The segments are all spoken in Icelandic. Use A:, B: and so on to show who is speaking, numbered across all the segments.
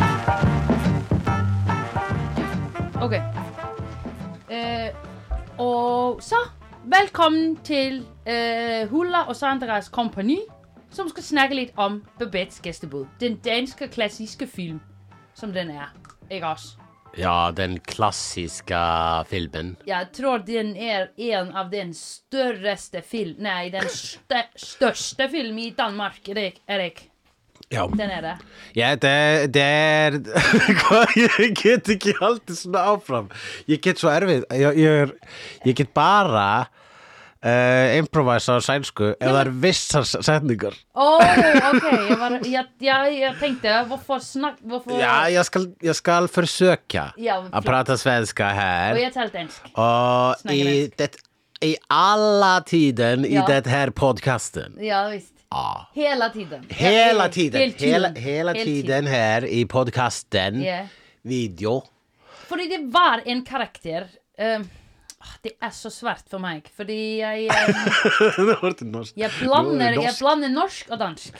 A: Eh, Velkommen til øh, Hulla og Sandras kompani, som skal snakke lidt om Babettes gæstebud. Den danske klassiske film, som den er. Ikke også?
B: Ja, den klassiska filmen.
A: Jag tror den är en av den största film, nej den st- största film i Danmark, Erik. Erik.
B: Ja.
A: Den är det.
B: Ja, det, det er Ég get ekki haldið svona áfram Ég get svo erfið Ég, ég, er, ég get bara uh, improvisa á sænsku ef það er vissar setningar
A: Åh, okej, jag, var- jag, jag, jag tänkte, varför snack, varför?
B: Ja, jag ska, jag ska försöka
A: Ja,
B: att
A: klart.
B: prata svenska
A: Och
B: här
A: jag tar dansk.
B: och
A: Snacka
B: i,
A: dansk.
B: det, i alla tiden i
A: Ja.
B: det här podcasten
A: Ja, visst.
B: Ja.
A: Hela tiden.
B: Hela
A: Ja,
B: tiden,
A: helt
B: hela, hela
A: Helt
B: tiden här i podcasten
A: Ja.
B: Video
A: För det var en karaktär. ehm, ah, det är så svårt för mig, för det jag, jag,
B: Det var inte norskt.
A: jag,
B: Då är
A: blandar,
B: det
A: jag
B: norskt.
A: blandar norsk och dansk.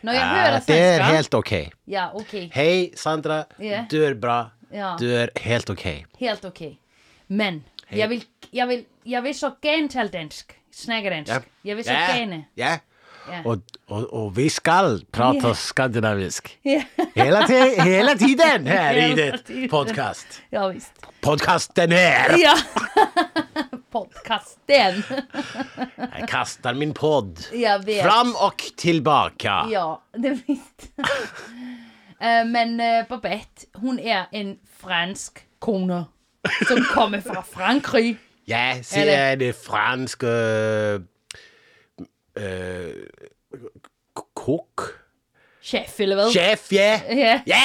A: När jag hör
B: Ah,
A: svenska.
B: det är helt okej.
A: Ja, okej.
B: Hej Sandra,
A: Ja.
B: du är bra.
A: Ja.
B: Du är helt okej.
A: Helt okej. Men jag vill, jag vill, jag vill så gärna tala dansk. Snacka dansk. Jag vill så gärna.
B: Ja.
A: Ja.
B: Och, och, och vi ska prata
A: Ja.
B: skandinavisk.
A: Ja.
B: Hela, ti- hela tiden här i
A: Hela
B: det
A: tiden.
B: podcast.
A: ja, visst.
B: Podcasten här!
A: Ja. Podcasten.
B: Jag kastar min podd.
A: Jag vet.
B: Fram och tillbaka.
A: Ja, det visst. Eh, Men eh, Babette, hon är en fransk kona som kommer från Frankrike.
B: Ja, så
A: Eller-
B: är det fransk... Uh, øh, kock?
A: Chef eller vad?
B: Chef, ja!
A: Ja,
B: Ja!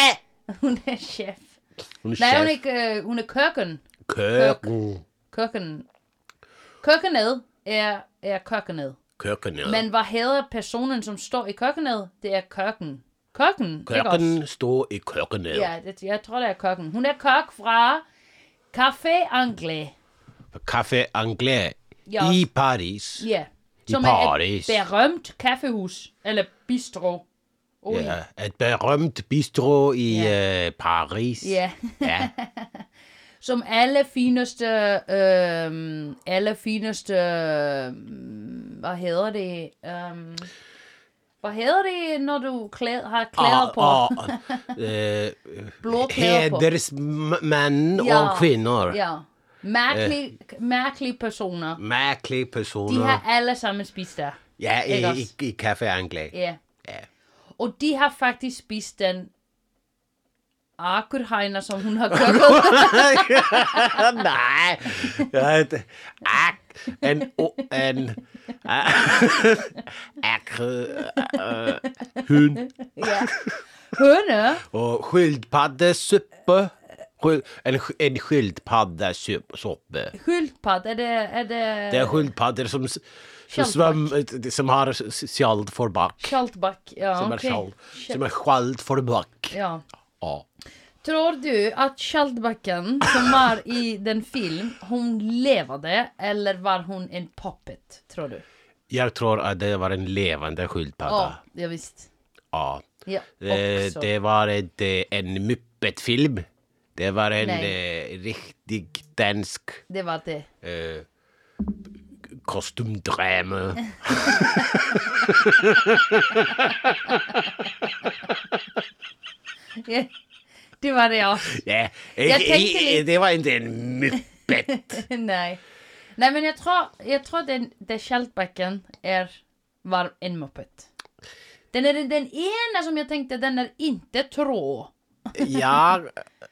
A: hon är chef.
B: Hon är
A: Øh, Nej, hon
B: chef.
A: är, eh, hon är köken.
B: Köken.
A: Köken. Kökened är, är kökened.
B: Köken, ja.
A: Men vad hedder personen, som står i køkkenet? Det er køkken. Køkken, ikke også?
B: Köken står i köken. Ja.
A: Ja, det, jeg tror, det er køkken. Hun er kok fra Café Anglais.
B: Café Anglais
A: Ja.
B: i Paris.
A: Ja.
B: I
A: Som
B: Paris.
A: er et berømt kaffehus. Eller bistro. Oh, ja.
B: Ja, ett berömt bistro i eh, Paris.
A: Ja.
B: Ja.
A: Som alle fineste... Øh, alle fineste... Øh, hvad hedder det? Øh, hvad hedder det, når du klæder, har klæder på?
B: Och, och, eh,
A: Blå klæder på.
B: hedersmän och kvinnor.
A: Ja. Mærkelige, mærkelige personer.
B: Märkliga
A: De
B: personer.
A: har alle sammen spist der.
B: Ja, i,
A: Ikke også?
B: i, i Café Anglais.
A: Ja.
B: Ja.
A: Og de har faktisk spist den akurhegner, som hun har køkket.
B: Nej. Ja, det- Ak, en, o- en, ak, äh, hund.
A: ja. Høne.
B: Och skyldpaddesuppa. Skyld, en, sk- en skyldpaddasoppa.
A: Skyltpad, er det... Er det,
B: Det är sköldpaddor som, s- som, svam- som har s- skjöld för back.
A: Kjaltbakk. Ja,
B: Som är
A: ok.
B: skjöld,
A: Skjald-
B: som är skjöld för back.
A: Ja.
B: Ja.
A: Tror du att Kjaltbacken, som var i den film, hon levde eller var hon en puppet, tror du?
B: Jag tror att det var en levande
A: Ja,
B: sköldpadda.
A: ja visst.
B: Ja.
A: Ja,
B: Eh,
A: också.
B: Det var ett, eh, en Muppet-film. Det var en
A: Nej.
B: eh, riktig dansk
A: Det var det.
B: eh, kostymdrama.
A: Ja, det var det ja.
B: Ja,
A: Jag
B: i-
A: tänkte
B: i-
A: lite-
B: det var inte en muppet.
A: Nej. Nej men jag tror, jag tror den, den Kjaltbacken är, var en muppet. Den är den, den ena som jag tänkte, den är inte trå.
B: ja,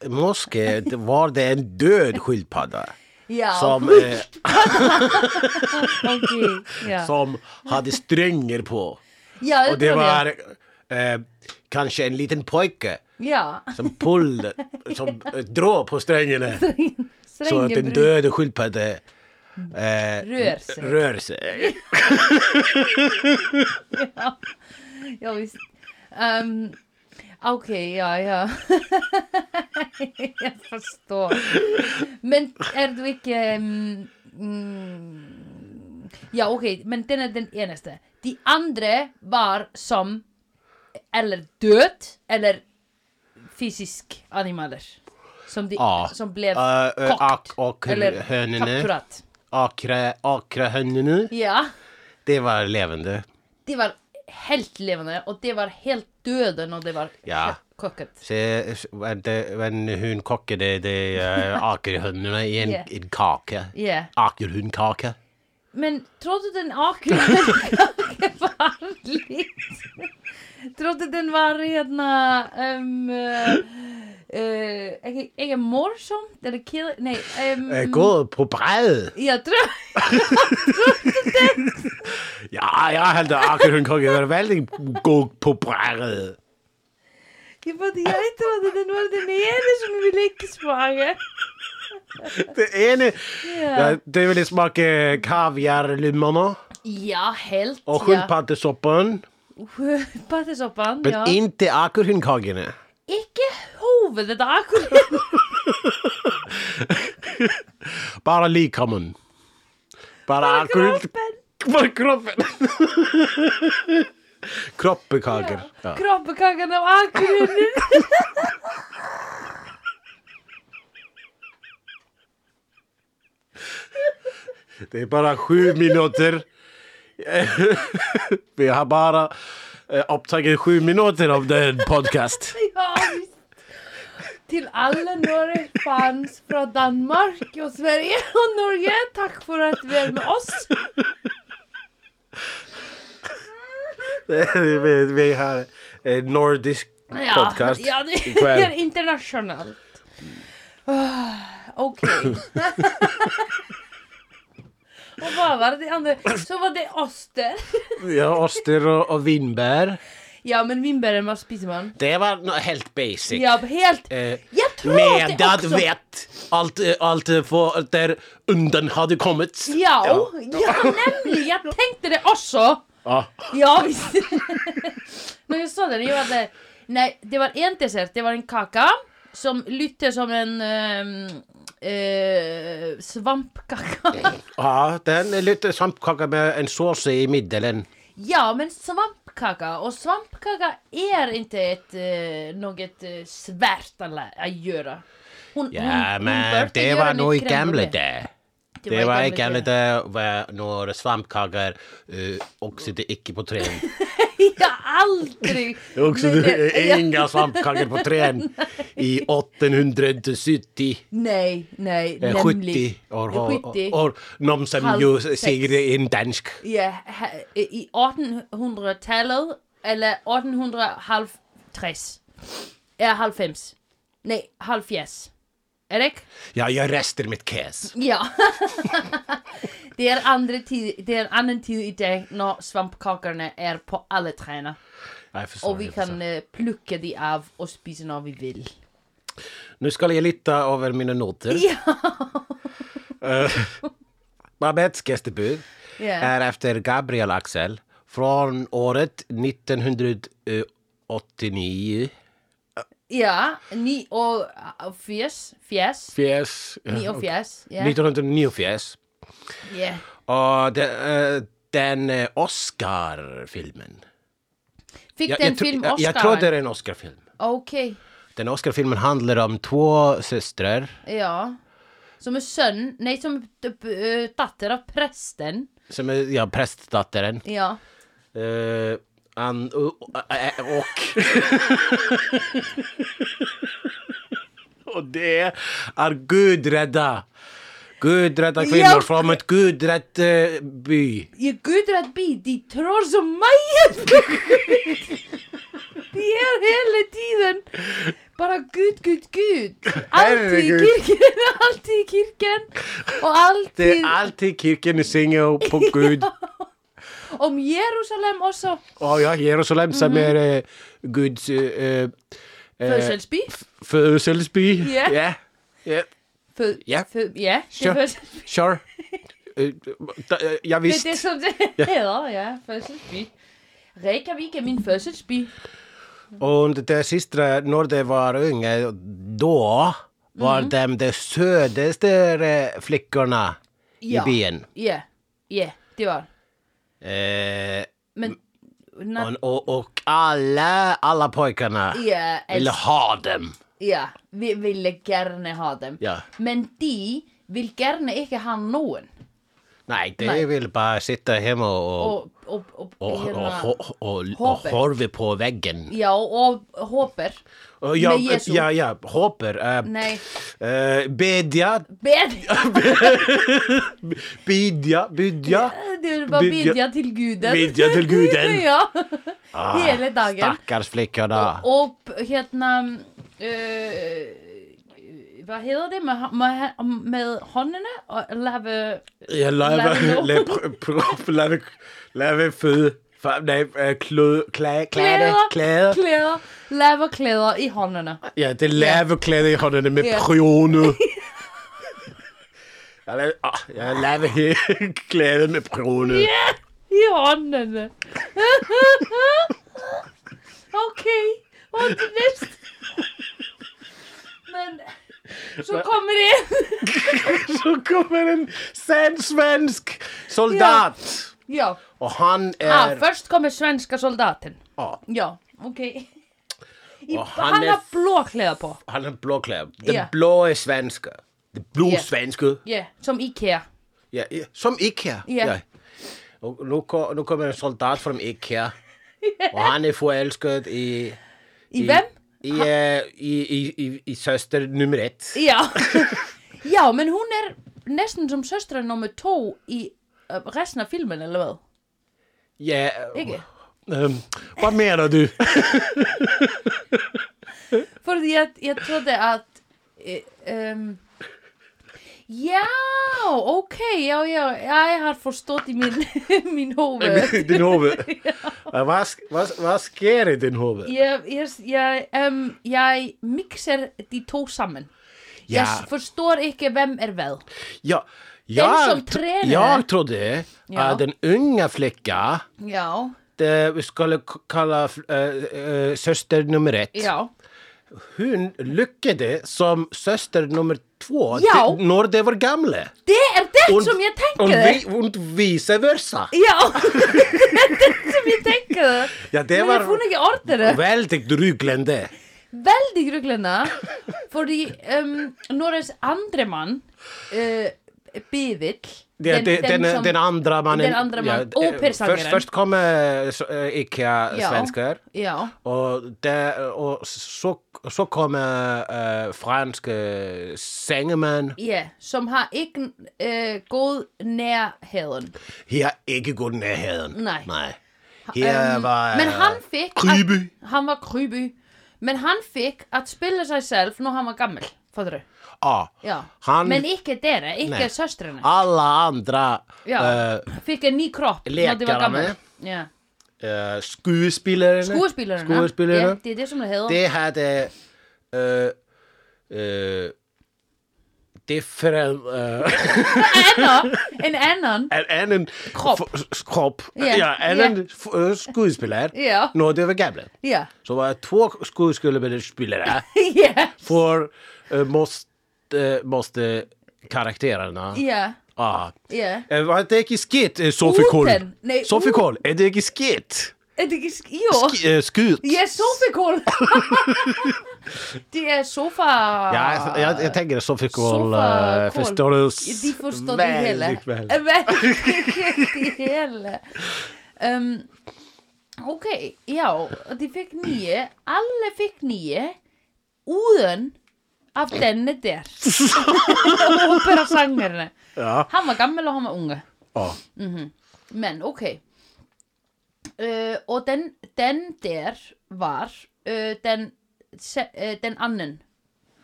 B: måske det var det en död sköldpadda
A: Ja,
B: som, eh,
A: okej. Ja.
B: som hade stränger på.
A: ja, jag
B: Och det
A: tror
B: var eh, kanske en liten pojke
A: Ja.
B: som pullade, som eh, drog på strängarna så att den
A: Strängen
B: döda sköldpaddan eh,
A: Rör sig.
B: rör sig.
A: Ja, visst. Ehm, Okej, ja, ja. jag förstår. Men är du inte... mm, mm, ja, okej, men den är den enaste. De andra var som eller död eller fysisk animaler. Som, de,
B: Ja.
A: som blev
B: Eh, eh,
A: kokt.
B: och- och hönorna.
A: kapturat.
B: akra, akra hönnunu
A: Ja,
B: Det var levende
A: det var helt levende og det var helt døden og det var
B: Ja.
A: helt kokket.
B: Se, men, det, men hun kokkede de uh, akerhønnene i en,
A: Ja.
B: en kake
A: Ja.
B: Akerhundkake
A: Men trodde den akurkake var litt Trodde den var hérna um, uh, uh, ekki, ekki morsomt eller kill, nei um,
B: Gåð Eh, på bræð
A: Já, trú
B: Já, ég held að akerhundkake var veldig góð på bræð
A: Ég fætti, ég trodde den var den ene som ville ikke smake
B: Det ene
A: Ja,
B: ja, Det ville smake kaviarlummerna
A: ja helt
B: og
A: ja.
B: hundpaddesoppen
A: Pattisoppan,
B: Men
A: ja
B: inte akerhundkakene
A: Ikke hovedet av akurinn
B: Bara likamen Bara akerhund
A: Kroppen,
B: Bara kroppen Kroppekaker ja.
A: kroppekakan af akurinn
B: Det är bara sju minuter. Vi har bara eh, upptagit sju minuter av den podcast.
A: Ja, visst. Til alle våre fans fra Danmark og Sverige og Norge, takk for at vi er med oss.
B: vi, vi har eh, nordisk podcast.
A: ja det
B: ikväll.
A: er internasjonalt. Åh, Ok. Og hva var det andre? Så var det oster.
B: Ja, oster och, och vinbär.
A: Ja, men vinbären, hva spiser man?
B: Det var nå helt basic.
A: Ja, helt
B: Eh,
A: Jeg tror at det
B: Medad
A: også
B: vett. Allt, eh, allt eh, för där undan hade kommit.
A: Ja, ja, nemlig! Jeg tenkte det også.
B: Ja.
A: Ja visst Men jeg sa det, jeg hadde Nei, det var en dessert, det var en kaka Som lytte som en um, uh, Svampkaka
B: ja, den är lite svampkaka med en sås i mitten.
A: Ja, men svampkaka Og svampkaka er ikke et eh, Noe eh, svært alle å gjøre Hun,
B: Ja,
A: hun- hun
B: men
A: burde
B: det
A: gjøre
B: var
A: en
B: nå i
A: krem
B: gamle
A: brûlée.
B: dager.
A: var
B: Det
A: i
B: var i
A: gamle
B: gamle dager var når svampkaker uh, oksidde ikke på treen.
A: Ja, aldri
B: Oksidde
A: Ja.
B: ingen svampkaker på treen i 1870.
A: Nei, nei,
B: eh,
A: nemlig
B: 70 år,
A: Ja,
B: og,
A: 70.
B: og noen som
A: Halv
B: jo
A: seks.
B: sier det en dansk.
A: Ja, ha- i 1800-tallet, eller 1850. Ja, 90. Nei, 70. Er det ikke?
B: Ja, jeg rester mitt kes.
A: Ja. det, er andre tid, det er annen tid i dag når svampkakerne er på alle trærne.
B: Jeg forstår,
A: Og vi
B: jeg
A: kan
B: forstår.
A: eh, plukke de av og spise når vi vil.
B: Nå skal jeg lytte over mine noter.
A: Ja.
B: Eh, Babets gjestebud.
A: Ja.
B: är efter Gabriel Axel från året 1989.
A: ja. eh, 49. Fjes.
B: Fjäs.
A: 49. Ja.
B: 1989 Eh, fjäs.
A: ja.
B: Och det, eh, den eh, Oscar-filmen.
A: Fikk
B: Jag,
A: den
B: jag, tro-
A: film
B: jag, jag tror det
A: Oscar?
B: är en Oscar-film.
A: Ok.
B: Den Oscar-filmen handlar om två systrar
A: Ja. Som er sønn Nei, som er d- eh, datter av presten.
B: som är ja, prästdottern.
A: Ja.
B: Eh, an, och, och, och det är gudrädda. Gudrädda kvinnor
A: Ja.
B: från ett gudrätt eh, by.
A: Jeg gudrett bi, de trår som meg! de er hele tiden bare Gud, Gud, Gud. Alltid i
B: Herregud.
A: kirken, alltid i kirken. Og
B: Det är
A: alltid
B: alltid kyrkan synger på Gud.
A: om Jerusalem også.
B: Och ja, Jerusalem som
A: Mm.
B: är eh, Guds eh, eh,
A: Fødselsby.
B: födelseby.
A: Ja.
B: Ja. Ja.
A: Fø-
B: ja.
A: fø- Ja, det
B: Sure.
A: er fødselsby.
B: Sure. Eh, da- eh, ja,
A: Det
B: visst.
A: er det som det heter, ja. Fødselsby. Reykjavik er min fødselsby.
B: Och det sista, när de var unga, då var
A: Mm.
B: de de sötaste eh, flickorna
A: Ja.
B: i byn.
A: Ja. Ja, det var det.
B: Eh,
A: Men na,
B: och, och, och alla, alla pojkarna
A: ja,
B: ville
A: altså,
B: ha dem.
A: ja, vi ville gjerne ha dem.
B: Ja.
A: Men de vil gjerne ikke ha noen.
B: Nei,
A: Nei.
B: ég vil bara sitta heima og,
A: og, og, og,
B: og, og,
A: hérna-
B: og, og, og, og
A: Hopper.
B: horfi på veggen.
A: Já, og Hóper
B: Og Já,
A: Með Jesú.
B: já, já, hopper. Uh,
A: Nei,
B: uh, bedja,
A: bed
B: bidja, bidja.
A: Þau eru bara að
B: Bidja-
A: bidja til guden
B: Bidja til guden.
A: Já,
B: Ah,
A: hele dagen
B: Stakkars flikkjana.
A: Og p- hérna uh, Hvað hefur þið með, með, með honninu og lefu
B: Jeg laver,
A: Laver-
B: laver, laver, laver, laver føde. Fa- Nej, øh, kløde, klage, klade, klade.
A: klæða lefa klæða í honninu
B: Ja, det er laveklade i hånderne med
A: Ja.
B: prune. Jeg laver, åh, jeg laver he- klade med prune.
A: í honninu ok on the next men svo komur ég
B: Så kommer en sand svensk soldat.
A: já,
B: Og han
A: ah,
B: er...
A: først komur svenska soldatin
B: Åh,
A: já, ok í,
B: Og hann
A: hann
B: er-
A: har blå klæða på
B: han er blåklæder. Den
A: Ja.
B: blå svenske. Den blå
A: Ja.
B: svenske.
A: yeah, som IKEA
B: Ja, ja, som IKEA.
A: Ja.
B: Og nu, ko- nu kommer en soldat fra IKEA, og han er forelsket i...
A: í hvem?
B: I, eh, i, i, i, i søster nummer ett.
A: já já, menn hún er nesten som söstra nummer tó í uh, resten af filmin eller hvað?
B: Ja,
A: Ikke?
B: øhm, hvad mener Ehm, du?
A: Fordi ég, ég troddi að e, um, Já, ok, já, já, ég har forstått í min, min hófi
B: din hoved. Og Hvad, sk- hvad, hvad sker i din hoved?
A: Ég, ég, ég, um, ég mixer de to sammen
B: Ja.
A: Ég forstår ekki hvem er vel
B: Ja, jeg,
A: som
B: tr-
A: træner.
B: jeg trodde
A: Ja.
B: at den unge flicka,
A: Já,
B: det vi skulle k- kalde øh, øh, søster nummer ett,
A: já,
B: hun lykkede som søster nummer två
A: Ja.
B: til- når det var gamle.
A: det er det
B: Und-
A: som ég
B: Und,
A: tenker
B: vi,
A: þér
B: und vice versa.
A: Já, det er det sem ég tenker þér
B: Ja, det
A: Men ég
B: var
A: fún ekki orðinu
B: väldigt druglende.
A: veldig grugglenda fordi um, Norris andre mann uh, Bivill
B: Det, den, det, den, den, andra mannen.
A: den andra mannen.
B: eh,
A: Operasångaren.
B: Först, först kom äh, IKEA-svenskar.
A: ja,
B: Och, där, och så, så kom äh, fransk äh, sängeman.
A: ja, som har ikke uh, god nærheden
B: Här inte god närheten.
A: Nej.
B: Nej. Här
A: Øhm,
B: var...
A: Ehm,
B: eh,
A: men han fik
B: Kryby.
A: At, han var kryby men han fik at spille sig selv når han var gammel fattar du?
B: Ja.
A: Ja.
B: Han-
A: men ikke dere, ikke
B: Nej.
A: søstrene
B: Alla andra
A: ja.
B: äh,
A: fikk en ny kropp når de var
B: lekerne.
A: gammel ja.
B: äh, skuespelare.
A: skuespillerne,
B: Skuespillerne.
A: Ja, det er det som det hedder
B: Det hade... Uh, uh, different... Uh,
A: Anna, en anden
B: en anden
A: Krop.
B: f- krop.
A: Ja.
B: Ja, anden f- øh, skuespiller,
A: Ja.
B: når det var gamle.
A: ja,
B: Så var to skuespillere
A: ja,
B: for øh, måste, eh, måste karaktererna.
A: ja,
B: Ah.
A: ja
B: Øh, Var det ikke skidt, øh, Sofie Kohl?
A: Uten. Nej,
B: Sofie
A: u-
B: Kohl, er det ikke skidt?
A: Er det ikke sk- Jo,
B: Sk- øh, Skidt.
A: ja, sofakål Det er sofa
B: Ja, jeg,
A: Ah.
B: jeg, jeg tenker at Sofie Kohl
A: Sofa
B: øh,
A: Kohl.
B: forstår det
A: De forstår det Ehm. hele
B: veldig vel.
A: Veldig det hele um, Ok, já og De fikk nýje Alle fikk nýje Úðun af denne der Ópera sangarinn
B: Ja.
A: Hann var gammel og hann var unge
B: Åh.
A: Men ok uh, Og den, den der var uh, den, se, uh, den anden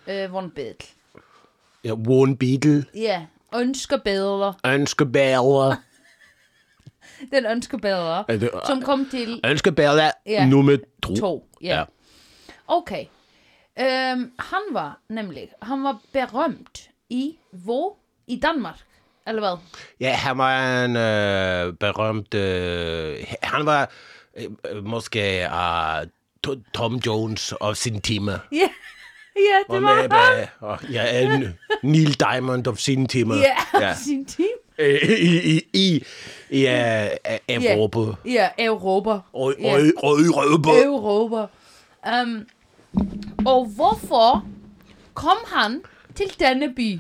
A: uh, vonbiðl
B: Ja, One Beagle.
A: yeah. Ønskebeðla
B: Ønskebærer.
A: Den ønskebeðla
B: Er det-
A: Som kom til
B: Ønskebærer
A: Ja.
B: nummer to.
A: to yeah.
B: Ja.
A: Ok um, Hann var nemlig Hann var berømt i Vå i Danmark Eller hvad?
B: Ja, han var en øh, berømt... Øh, han var øh, øh, måske øh, To- Tom Jones og sin time.
A: Ja, ja
B: Og
A: det var
B: med, øh, og, ja, en Neil Diamond of sin time.
A: Ja,
B: Ja.
A: sin team
B: Øh, I, i, i, i øh, Europa.
A: Ja, Europa
B: Og,
A: Ja.
B: og, og Europa.
A: Europa. Um, og hvorfor kom han til denne by?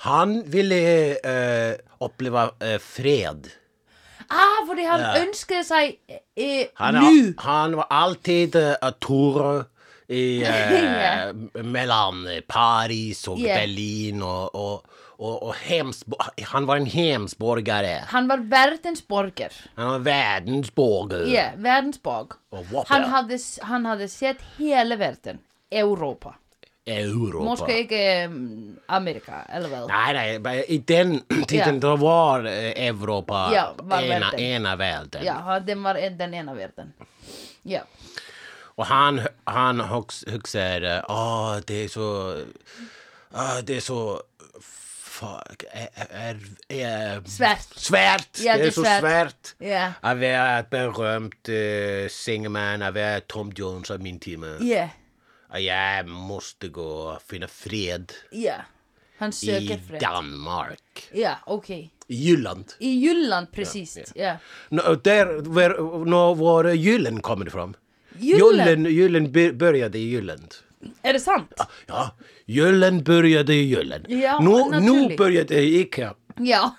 B: Han ville uh, oppleva uh, fred.
A: Ah, fordi han
B: Ja.
A: ønskede sig øh,
B: Han, er-
A: nu.
B: han var alltid uh, att tura i, eh,
A: Ja.
B: mellan Paris och
A: Ja.
B: Berlin och, och, och, och Hemsbo- han var en hemsborgare.
A: Han var verdensborger.
B: Han var världsborgare.
A: Ja, verdensborg.
B: Og hvor
A: Han
B: bær-
A: havde, han havde set hele verden. Europa.
B: Europa.
A: Måske ikke øhm, Amerika, eller hvad?
B: Nej, nej, bara i den tiden
A: Ja.
B: då var eh, Europa
A: Ja, var
B: ena,
A: världen.
B: ena världen.
A: Ja, han- den var en- den ene verden. Ja.
B: Och han, han huxar, ah det är så, ah det är så, fuck, är, är, är,
A: Svärt.
B: svärt,
A: Ja,
B: det
A: det
B: är
A: är
B: så
A: svärt.
B: svärt.
A: Ja.
B: Att vara ett berömt äh, singman, att vara Tom Jones av min timme.
A: Ja.
B: Att jag måste gå och finna fred
A: Ja. Han
B: i
A: søger fred.
B: Danmark,
A: Ja, okay.
B: i Jylland.
A: I Jylland, præcis. Ja.
B: Nå, där var, nå, var Jylland kommer ifrån.
A: Jylland?
B: Jylland, Jylland by- började i Jylland.
A: Er det sant?
B: Ja, Jylland började i Jylland.
A: Ja,
B: nu, nu
A: naturligt.
B: började Ica,
A: Ja.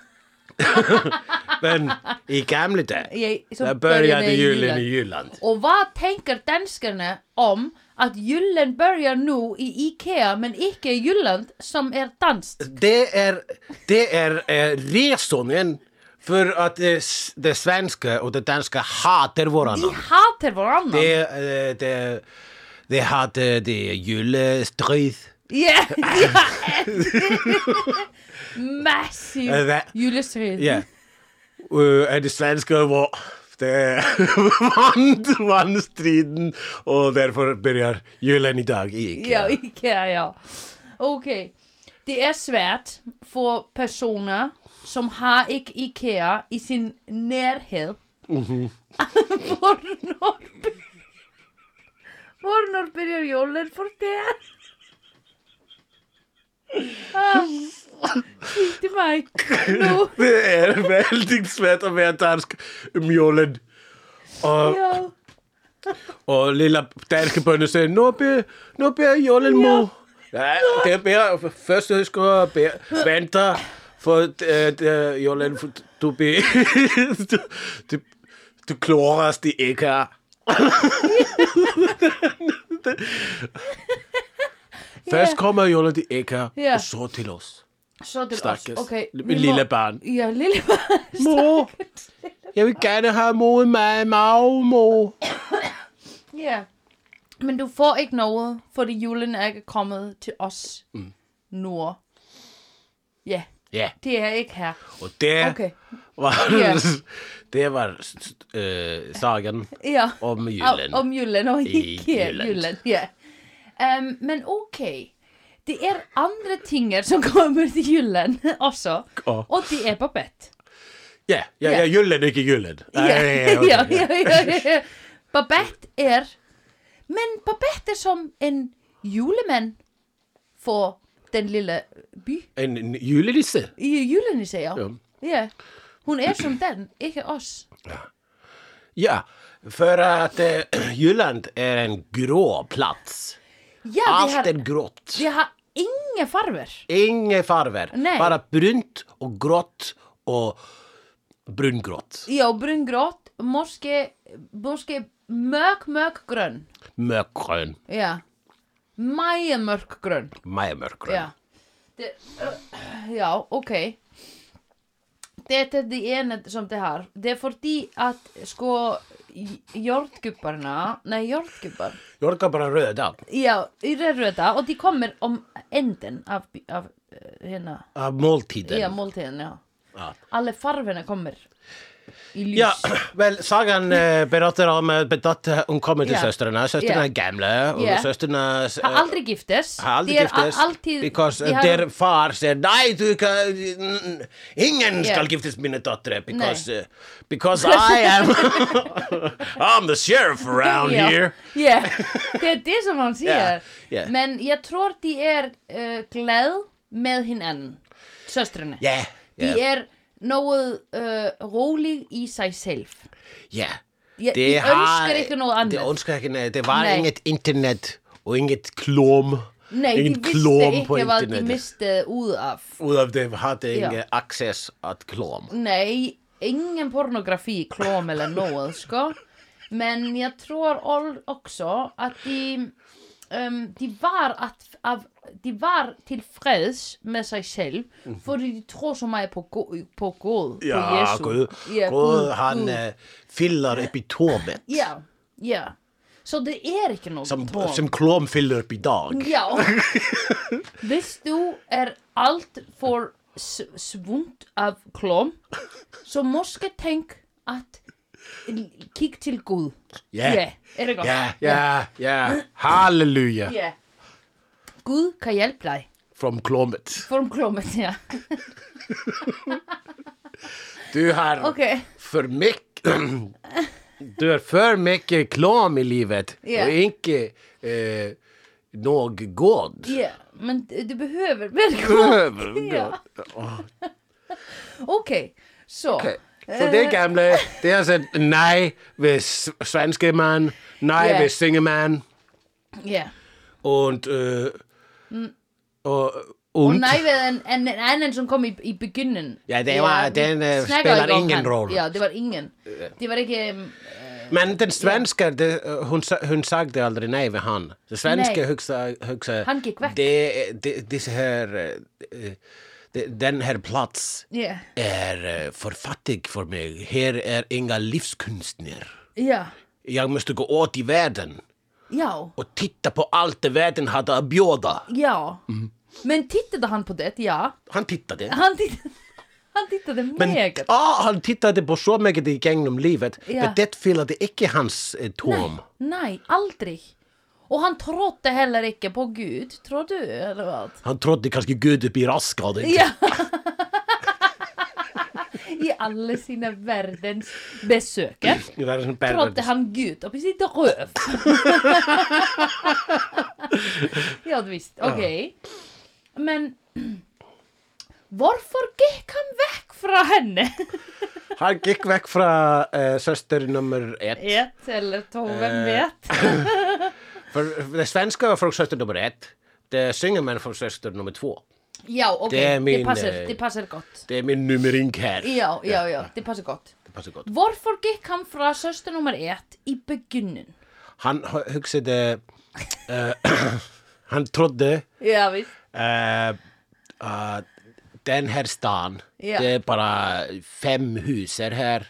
B: men i gamla dagar
A: Jeg,
B: där började Jylland i Jylland.
A: Og hvad tænker danskerne om, at Jylland börjar nu i IKEA, men ikke i Jylland, som er dansk?
B: Det är, det är eh, resonen för att det, s- det svenska och det danska hatar varandra.
A: De hater hverandre.
B: Det, eh, det, det hade det julestrid.
A: Ja, ja. Massiv
B: Er det-
A: julestrid.
B: Ja. Uh, det svenska var det vann, vann striden och därför börjar julen idag i
A: Ja,
B: IKEA.
A: IKEA, ja. Okay. Det er svært for personer, som har ikke IKEA i sin nærhed.
B: Mhm.
A: Mm-hmm. hvornår, be- hvornår byrjar julen for der? Ah, Kikk til mig nu.
B: Det är väldigt svårt att vara dansk om julen. Och,
A: Ja.
B: och lilla danska bönder säger nu blir, nu blir julen mor. Nej, det är bara första du ska be- vänta för att äh, julen för du blir... du, du, du klarar det inte. Först kommer julen till Eka
A: Ja.
B: och så till oss.
A: Så er det
B: Stakkels.
A: også. Okay,
B: Min
A: vi må-
B: lille barn.
A: Ja, lille barn.
B: Mor, jeg vil gerne have mod mig, mag, mor.
A: Ja. Men du får ikke noget, fordi julen er ikke kommet til os mm. nord. Ja,
B: Ja,
A: det er ikke her.
B: og det
A: Okay.
B: var,
A: Ja.
B: det var s- øh, sagen
A: Ja.
B: om julen.
A: Om, om julen og
B: I
A: ikke
B: Jylland.
A: julen. julen. Ja. Um, men okay. Det er andre ting, som kommer til julen også.
B: Og-
A: Og det er Babette.
B: Ja, ja, ja,
A: Ja.
B: julen, ikke julen. Ej,
A: Ja,
B: ja, okay,
A: ja, ja, ja, ja. Babette er Men Babette er som en julemand for den lille by.
B: En, en julelisse.
A: I julenisse, ja.
B: Ja.
A: ja. Hun er som den, ikke os.
B: Ja, for at øh, Jylland er en grå plads.
A: Ja, det
B: Alt
A: har,
B: er grått.
A: det har ingen farver.
B: Ingen farver.
A: Nej.
B: Bare brunt og grått og brungrått.
A: Ja, brungrått, måske, måske mørk, mørk grøn.
B: Mørkgrønn.
A: Ja. Meget mørk grøn.
B: Meget mørkgrønn.
A: Ja. Det, øh, ja, ok. Dette er det ene som det har. Det er fordi at, sko, jordgubbarna, nei, jordgubbar,
B: Jorka bara röda.
A: ja, er røda, og de kommer om enden av, by- av øh, henne.
B: Av måltiden.
A: Ja, måltiden, ja.
B: Ja.
A: Alle farvene kommer i lys.
B: Ja, vel, sagan eh, berättar om eh, att hon kommer till
A: Ja.
B: systrarna. Systrarna
A: Ja.
B: är gamla och
A: Ja.
B: systrarna eh,
A: Har aldrig giftes.
B: har aldrig
A: de er
B: giftes.
A: al- Alltid,
B: because
A: de
B: eh,
A: har-
B: their far säger nej, du kan, n- ingen
A: Ja.
B: ska giftas med mina döttrar because, eh, because I am I'm the sheriff around
A: Ja.
B: here.
A: Ja, det er det, som han siger.
B: Ja, ja.
A: Men jeg tror, de er øh, glade med hinanden, søstrene.
B: Ja,
A: De
B: ja,
A: er noget øh, rolig i sig selv.
B: ja.
A: Ja, de ønsker ikke noget andet.
B: Det önskar inte, det var
A: Nej.
B: inget internet och inget klom.
A: Nei,
B: Engin
A: ég vissi
B: klóm på
A: ekki hvað ég
B: internetið.
A: mistið út af
B: Út af þeim hade
A: Ja.
B: ingen access att klom.
A: Nei, ingen pornografi klóm eller något sko. Men jag tror all- också att de, ehm, de, var att, av, de var tillfreds med sig själv för de tror så mycket på, go- på Gud, på
B: Mhm. Ja,
A: Jesu.
B: Gud,
A: Ja,
B: Gud,
A: Gud,
B: han
A: Gud.
B: eh, fyller upp i torvet.
A: Ja, ja. Så det är inte något
B: Som,
A: torn.
B: som klom fyller upp i dag.
A: Ja. Hvis du er alt for s- svunt av klom, så måske tænk at l- kig til Gud.
B: Ja.
A: Ja, er det godt?
B: Ja, ja, ja. Halleluja.
A: ja. Gud kan hjælpe dig.
B: From klommet.
A: Form klommet, ja.
B: Du har
A: Okay.
B: för mycket... du har för mycket klom i livet.
A: Ja.
B: Och inte eh, nog god.
A: Ja, men d- du behøver vel
B: Du
A: Gud.
B: behöver god.
A: Ja. Okay, så.
B: Okej. Så det gamla, det är alltså nej vid s- svenske man, nej
A: Ja.
B: vid singeman
A: Ja.
B: och... eh, och, och,
A: Og nej, ved en, en, en anden, som kom i, i begyndelsen.
B: Ja, det var-
A: vi
B: den, øh,
A: snakker
B: spiller
A: ikke om
B: ingen
A: han.
B: rolle.
A: Ja, det var ingen. Det var ikke... øhm,
B: Men den svenska, det, hon, sa- hon sagde aldrig nej vid han. Den svenska
A: Nej.
B: högsta, högsta...
A: Han gick väck.
B: Det, det, det så här, eh, eh, det, den här plats
A: Ja,
B: är eh, för fattig för mig. Här är inga livskunstner.
A: ja,
B: Jag måste gå åt i världen
A: já,
B: och titta på allt det världen hade att bjuda.
A: já. Men tittade han på det? Ja.
B: Han tittade.
A: Han tittade, han tittade
B: Men,
A: mega.
B: ja, han tittade på så mycket igenom livet.
A: Ja.
B: Men det fyllde icke hans eh, tom.
A: Nej, aldrig. Och han trodde heller inte på Gud, tror du? Eller vad?
B: Han trodde kanske Gud upp i raskad.
A: Ja. I alla sina världens besöker trodde han Gud upp i sitt röv. ja, visst. Okej. Men varför gick han väck från henne?
B: Han gick väck från eh, söster nummer ett.
A: ett eller två, vem
B: Eh,
A: vet?
B: För det svenska var från söster nummer ett. Det synger man från söster nummer två.
A: Ja, okej,
B: det är
A: det,
B: min,
A: passar,
B: eh,
A: det passar gott.
B: Det är min nummerink här.
A: Ja, ja, ja, det passar gott.
B: Det passar gott.
A: Varför gick han från syster nummer ett i begynnelsen?
B: Han högsade... Eh, han trodde
A: Ja, visst.
B: eh, att den här stan,
A: Ja.
B: det är bara fem huser här.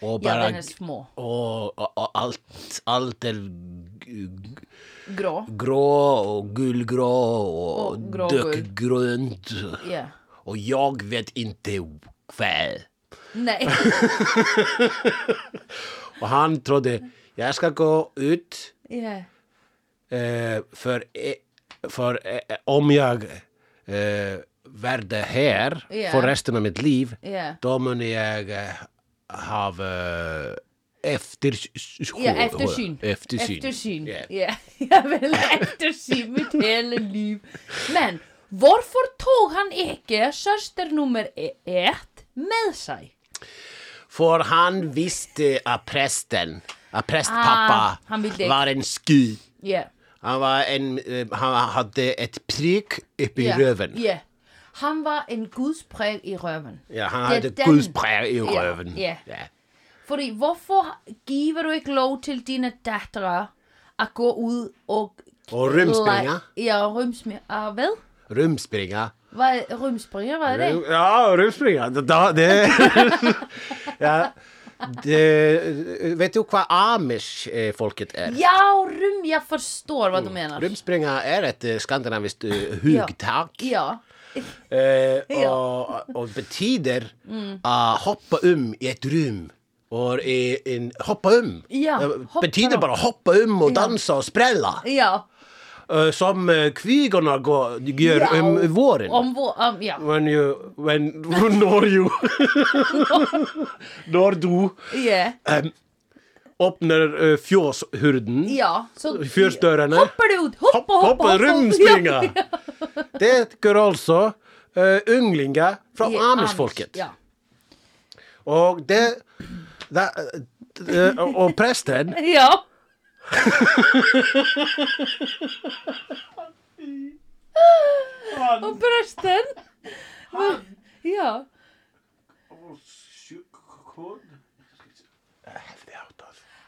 B: Och
A: Ja,
B: bara
A: den är små.
B: Och, och, och allt, allt är g- g-
A: Grå.
B: grå och gulgrå och,
A: Och grå-
B: dökgrönt.
A: Ja.
B: Och jag vet inte vad.
A: Nej.
B: Och han trodde, jag ska gå ut
A: Ja.
B: eh, för, eh, för eh, om jag eh, värde här
A: Ja.
B: för resten av mitt liv,
A: Ja.
B: då måste jag eh, ha eh, eftersyn.
A: Ja, eftersyn.
B: Eftersyn.
A: Eftersyn.
B: Ja.
A: Ja, jag vill eftersyn mitt hela liv. Men varför tog han inte syster nummer e- ett med sig?
B: För han visste att prästen, att
A: Ah,
B: prästpappa
A: han ville det.
B: var en sky.
A: Ja.
B: Han, var en, eh, han hade ett prick uppe
A: Ja,
B: i röven.
A: ja. Han var en gudspreg i röven.
B: Ja, han
A: Det
B: hade
A: är
B: ett
A: den-
B: gudsprä i
A: Ja,
B: röven.
A: ja.
B: Ja.
A: Fordi hvorfor giver du ikke lov til dine dattere at gå ud og...
B: Og rymspringer.
A: Ja, og rymspringer. Ah, hvad?
B: Rumspringa.
A: Hvad rymspringer? Hvad er det?
B: Ja, rumspringa. Da, det... ja. det... Vet du vad amish-folket är?
A: Ja, rym. Jeg forstår, hvad du
B: Mm,
A: mener.
B: Rumspringa är ett eh, skandinaviskt eh, hugtak.
A: Ja. Mm.
B: Eh,
A: Ja.
B: och, och betyder att hoppa um i ett rum. Och i en, hoppa um.
A: Ja,
B: Eh,
A: hoppa
B: betyder
A: um.
B: bara hoppa um och dansa och sprälla.
A: Ja.
B: Eh, som eh, kvigorna går, gör
A: Ja,
B: om våren.
A: Om vår... Om, ja.
B: When you, when, når you, når du
A: Ja.
B: öppnar uh, fjåshurden,
A: Ja. Så
B: fjåsdörrarna.
A: hopper du ut. Hoppa, hoppa, hoppa.
B: rymdspringa!
A: Ja,
B: Det gör alltså uh, ynglingar från
A: ja.
B: Amishfolket.
A: Ja.
B: Och det... det eh, och prästen,
A: Ja. og bröstin já,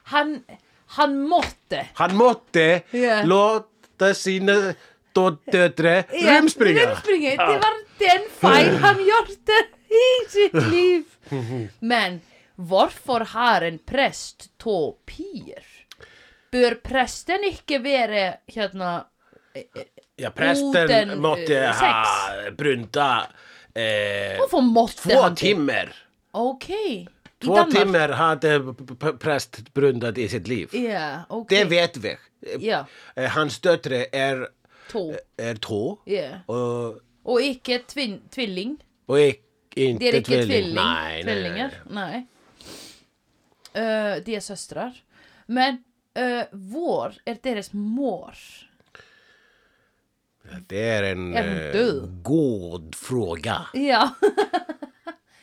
A: hann hann mótti
B: Hann måtte
A: Ja.
B: låta sina då- döttrar rymspringa.
A: rumspringa, det var den feil han gjorde i sitt liv men hvorfor har en prest to pier bør presten ikke være hérna
B: Ja, prästen
A: Orden, eh,
B: måtte ha brunta eh,
A: hvorfor måtte
B: två
A: han det?
B: timmar.
A: ok, i
B: Två timmar hade p- p- präst bruntat i sitt liv.
A: yeah, ok
B: Det vet vi.
A: Ja,
B: Eh, Hans döttrar är,
A: to.
B: är två
A: Yeah.
B: och,
A: Og ikke tvin, tvilling.
B: och är inte
A: Det er ikke
B: tvilling.
A: tvilling.
B: Nej, nej, nej,
A: Tvillinger. Nei. Eh, de er søstre. Men eh, vår er deres mor.
B: nej. Det är en
A: Är hon
B: eh,
A: död?
B: god fråga.
A: Ja.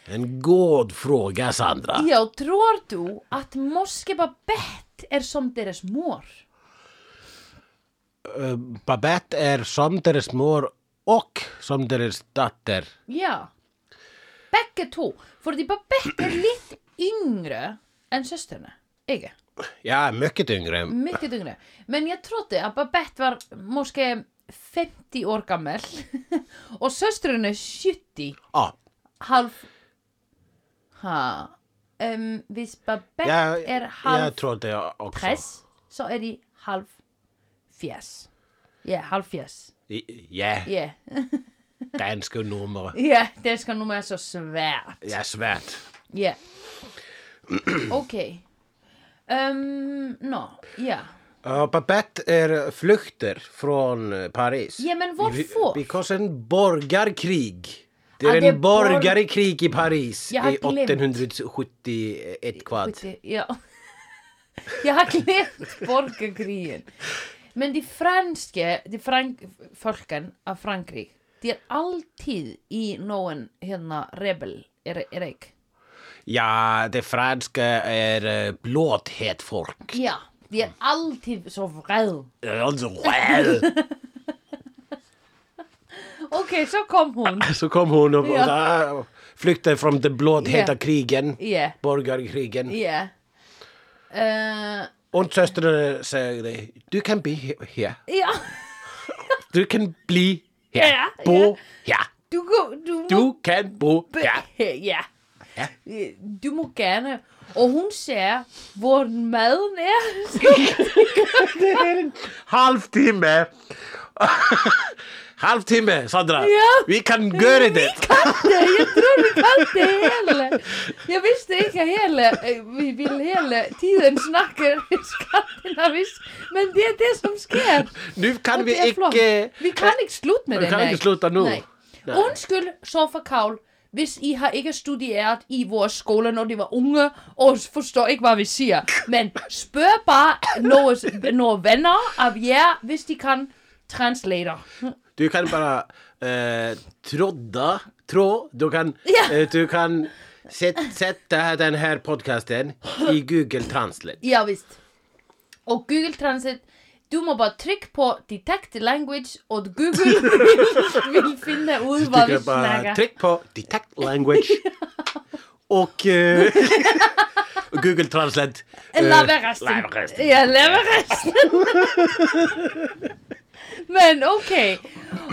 B: En god fråga, Sandra.
A: ja, tror du at morske Babette er som deres mor?
B: Eh, Babette är som deras mor och som deras dotter.
A: Ja. Begge to. Fordi Babette er litt yngre enn søstrene. Jeg er.
B: Ja, mycket yngre.
A: Mycket yngre. Men jag trodde att Babette var måske 50 år gammal och söstren är 70,
B: Ja,
A: halv... Ha. Um, hvis Babette
B: jag,
A: är
B: jag
A: halv
B: trodde jag också.
A: press så är de halv fjärs. Ja, halv fjärs.
B: I- Ja,
A: Ja, yeah.
B: danska nummer.
A: det ska nog vara så svärt.
B: Ja, svärt.
A: Ja. Okej. Ehm, Nå, ja.
B: Ja, Babette är flykter från eh, Paris.
A: Ja, men varför?
B: Be- Because en borgarkrig. Det är
A: Ja,
B: en
A: det är borg-
B: borgarkrig i Paris
A: Jag har
B: i
A: glömt.
B: 1871 kvad.
A: Skit i- Ja. Jag har glemt borgarkrigen. Men de franske, de frank, folken av Frankrike, de er alltid i noen hérna rebel, er, er ikke?
B: Ja, det franska är eh, blåthet folk.
A: Ja, de er alltid så vred.
B: Alltså, well.
A: Ok, så kom hun.
B: Så kom hon och,
A: Ja.
B: och, och flyktade från den blåtheta
A: Ja.
B: krigen,
A: Ja,
B: borgarkrigen.
A: ja. Eh,
B: Och systrarna säger du kan bli här,
A: Ja,
B: du kan bli här,
A: Ja,
B: bo här,
A: du, gå- du, må-
B: du kan bo här.
A: Ja.
B: Ja.
A: Du må gerne. Og hun ser hvor maden er.
B: Det är en halvtimme. halvtimme, Sandra.
A: Ja.
B: Vi kan göra det.
A: katte, jeg tror vi katte hele. Jeg visste ikke hele, eh, vi vil hele tiden snakke skandinavisk, men det er det som sker.
B: Nu kan
A: Og
B: vi
A: det er flott.
B: inte...
A: Vi kan ikke slutte med
B: Vi
A: det,
B: kan
A: nej.
B: ikke slutte nu.
A: Nej.
B: Nej.
A: Undskyld, Sofakavl, hvis I har ikke studeret i vores skole, når de var unge, og forstår ikke, hvad vi siger. Men spørg bare nogle, nogle venner af jer, hvis de kan translator.
B: Du kan bara eh, trodda, trå, du kan,
A: Ja.
B: eh, du kan sätt, sätta den här podcasten i Google Translate.
A: Ja, visst. Og Google Transit, du må bare trykke på Detect Language, og Google vil, vil finne ut hva
B: Du
A: vi
B: kan bara
A: snakker.
B: tryck på detect language och eh, Google Translate. eh,
A: Lave resten.
B: lave resten.
A: Ja, lave resten. Men ok.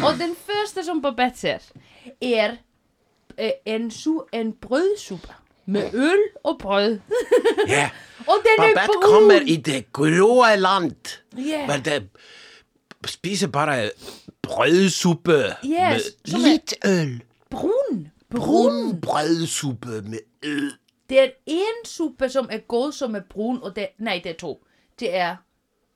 A: Og den første som Babette ser, er eh, en, su en brødsuppe med øl og brød.
B: Ja.
A: Og den er
B: Eh, Babette
A: brun.
B: kommer i det grå land.
A: Ja.
B: Men det spiser bara brödsuppe
A: Yes,
B: med
A: som är-
B: lite öl.
A: Brun. Brun.
B: Brun brödsuppe med öl.
A: Det er en suppe, som er god, som er brun, og det Nej, det er to. Det er...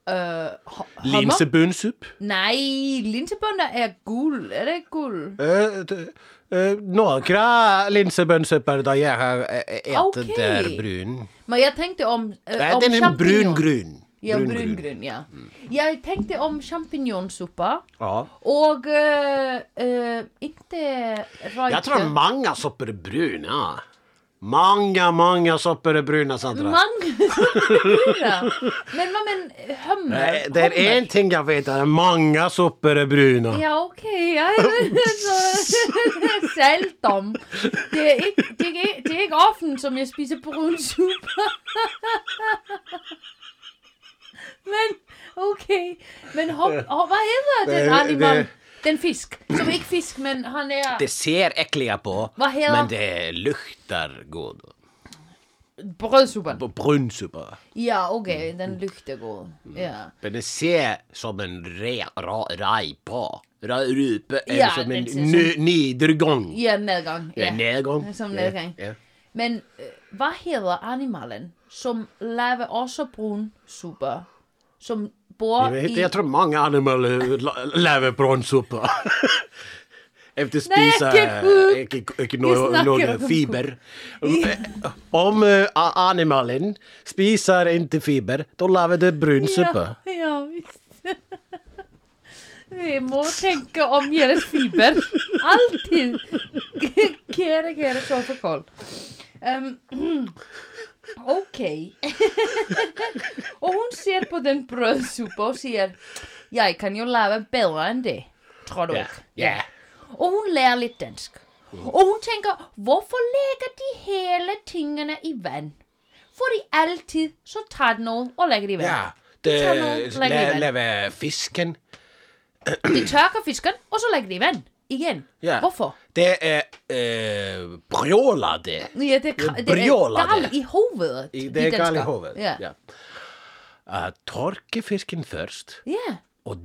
A: Øh, ho- hummer?
B: Linsebønsuppe.
A: Nej, linsebønder er gul. Er det ikke gul?
B: Eh, d- eh, Några linsebönssopper där jag har eh, ätit
A: Okej.
B: där brun.
A: Men jeg tænkte om... Øh,
B: Nej,
A: om
B: den är en
A: champignon.
B: brungrön.
A: Ja, brungrøn, ja.
B: Mm.
A: Jeg tænkte om champignonsupper,
B: Ja.
A: og øh, øh, ikke røgte.
B: Jag tror många soppor är bruna. Manga, manga soppur er bruna, Sandra
A: Mange Men vad med en øh,
B: Nei,
A: hummer?
B: Eh, Det er
A: Hummer?
B: en ting jeg vet, det er mange soppur er bruna
A: Ja, ok, jeg er saltdom. Det er, ikke, det, er ikke, det er ikke often, som jeg spiser brun suppe. Men, okay. Men hop, hop, hvad hedder den
B: Det-
A: animal?
B: det-
A: Den fisk, som ikke fisk, men han er...
B: Det ser ekkelig på,
A: Hva heter-
B: men det lukter god
A: Brødsuppen.
B: Brun super
A: Ja, okay, den lugter god. Ja.
B: Men det ser som en re, ra, rajpa ra, Rupe, eller
A: Ja,
B: som en
A: den ser som-
B: ny- nedergång
A: Ja, nedgang.
B: Ja, nedgång
A: Som
B: Ja,
A: nedgång.
B: ja.
A: Men øh, hvad hedder animalen, som laver også brun suppe? Som bor
B: Jag, vet,
A: i...
B: jag tror många animaler lever på en soppa. Efter
A: Nej,
B: spisa
A: vilken sjuk.
B: eh, vilken- vilken
A: Vi snackar
B: nå-
A: om
B: någon
A: sjuk.
B: fiber. Om eh, a- animalen spisar inte fiber, då lever det er brun soppa.
A: Ja, ja visst. Vi må tenke om deres fiber. Alltid. Kjære, kjære sovekål. Um, ok. og hun ser på den brødsuppa og sier Jeg kan jo lage bedre enn det, tror du
B: Ja,
A: ikke?
B: ja.
A: Og hun lærer litt dansk. Og hun tenker hvorfor legger de hele tingene i vann? Fordi alltid så tar de noe og legger det i vann.
B: Ja,
A: tar
B: det
A: nog längre
B: le-
A: väl.
B: lever fisken.
A: De tørker fisken, og så legger de i vann. Igjen.
B: Ja.
A: Hvorfor?
B: Det er eh, brjålade.
A: Ja, det, er kra- det er
B: Brjåla
A: gal
B: det.
A: i hovedet.
B: I-
A: de
B: Det er galt i
A: dansker.
B: hovedet.
A: Ja.
B: Ja. Eh, torke fisken først.
A: ja.
B: Og,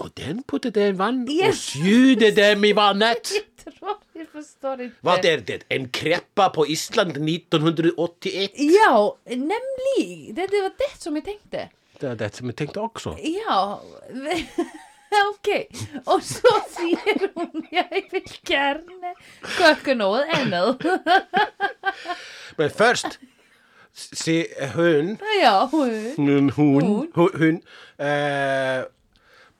B: og den putter det i vann og
A: Yes.
B: sjuder dem i vannet.
A: Jeg tror jeg forstår ikke.
B: Vad är det? En kreppa på Island 1981?
A: Ja, nemlig. Det, det var det som jeg tenkte.
B: Det är det som jag tänkte också.
A: Ja. Ok. Og så sier hun jeg vil gjerne koke noe annet.
B: Men först, se hon,
A: Ja, hun.
B: hon, hon,
A: Hon.
B: hon, hon eh,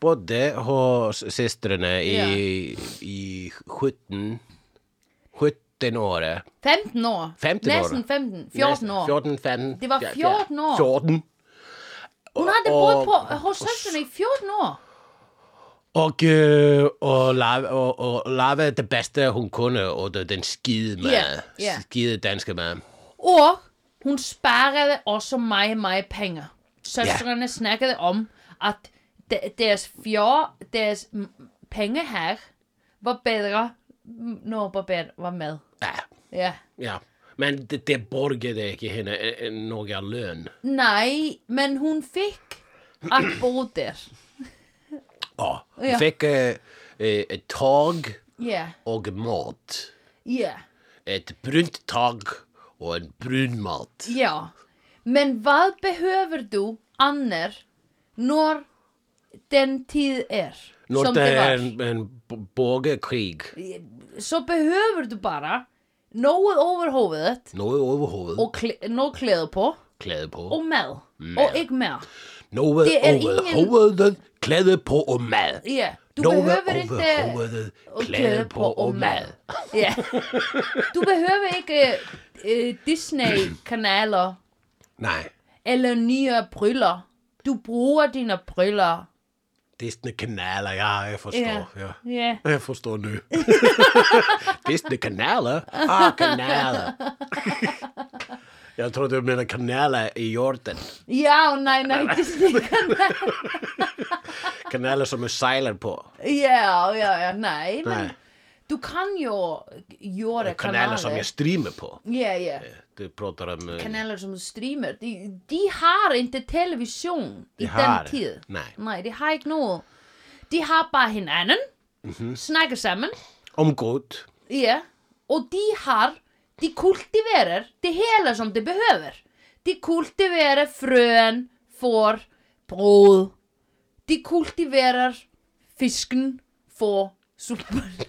B: bodde hos systrarna i, i 17, 17 år.
A: 15 år.
B: 15 år.
A: Nesten 15. 14 år.
B: 14, 15.
A: Det var 14 år.
B: 14.
A: Hun hadde
B: Og-
A: bodd på- hos søsteren i 14 år.
B: Och, eh, och, lave, och, och lave det bästa hon kunde och det- den skide med.
A: Ja, ja.
B: Skide danska med.
A: Og hun sparede også meget, meget penge. Søstrene snakkede om, at de- deres fjord, deres mm, penge her, var bedre, mm, når Barbet var med.
B: Ja.
A: Ja.
B: Ja, men det, det borgade inte henne eh, eh, några lön.
A: Nej, men hun fik at bo der.
B: Ja, hon
A: Ja.
B: fick eh, eh, ett tag
A: Ja,
B: och mat.
A: ja,
B: Ett brunt tag och en brun mat.
A: ja. Men hvad behøver du, Anner, når den tid er,
B: När
A: som
B: det
A: det var?
B: är en, en b- bågekrig,
A: så behøver du bare noe over hovedet
B: något över huvudet,
A: og kle noe klær på
B: kläder på.
A: og mat. Og ikke mer.
B: något
A: det är
B: över
A: ingen-
B: huvudet, kläder på och mat.
A: Ja, Du
B: Något
A: behøver ikke
B: över huvudet,
A: og
B: kläder på och mat.
A: Ja. Du behøver ikke eh, Disney-kanaler
B: Nej,
A: eller nye briller. Du bruger dine briller.
B: Disney-kanaler, ja, jag förstår.
A: Ja.
B: Ja.
A: Ja.
B: Jag förstår nu. Disney-kanaler? Ah, kanaler. Jag trodde du menade kanaler i jorden.
A: Ja, og nej, nej, Disney-kanaler.
B: Kanaler som du seiler på.
A: Ja, ja, ja, nej, men
B: Nej,
A: du kan jo gjøre
B: kanaler som Øh.
A: kanaler.
B: jag streamer på.
A: Ja, ja.
B: Du pratar om... eh,
A: kanaler som streamer, de, de har ikke televisjon i
B: har-
A: den tid.
B: nej.
A: de har ikke noe. De har bare hinanden,
B: Mhm.
A: snakker sammen,
B: Om god.
A: ja, og de har, de kultiverer det hele som de behøver. De kultiverer frøen for brød. De kultiverer fisken for suppen. De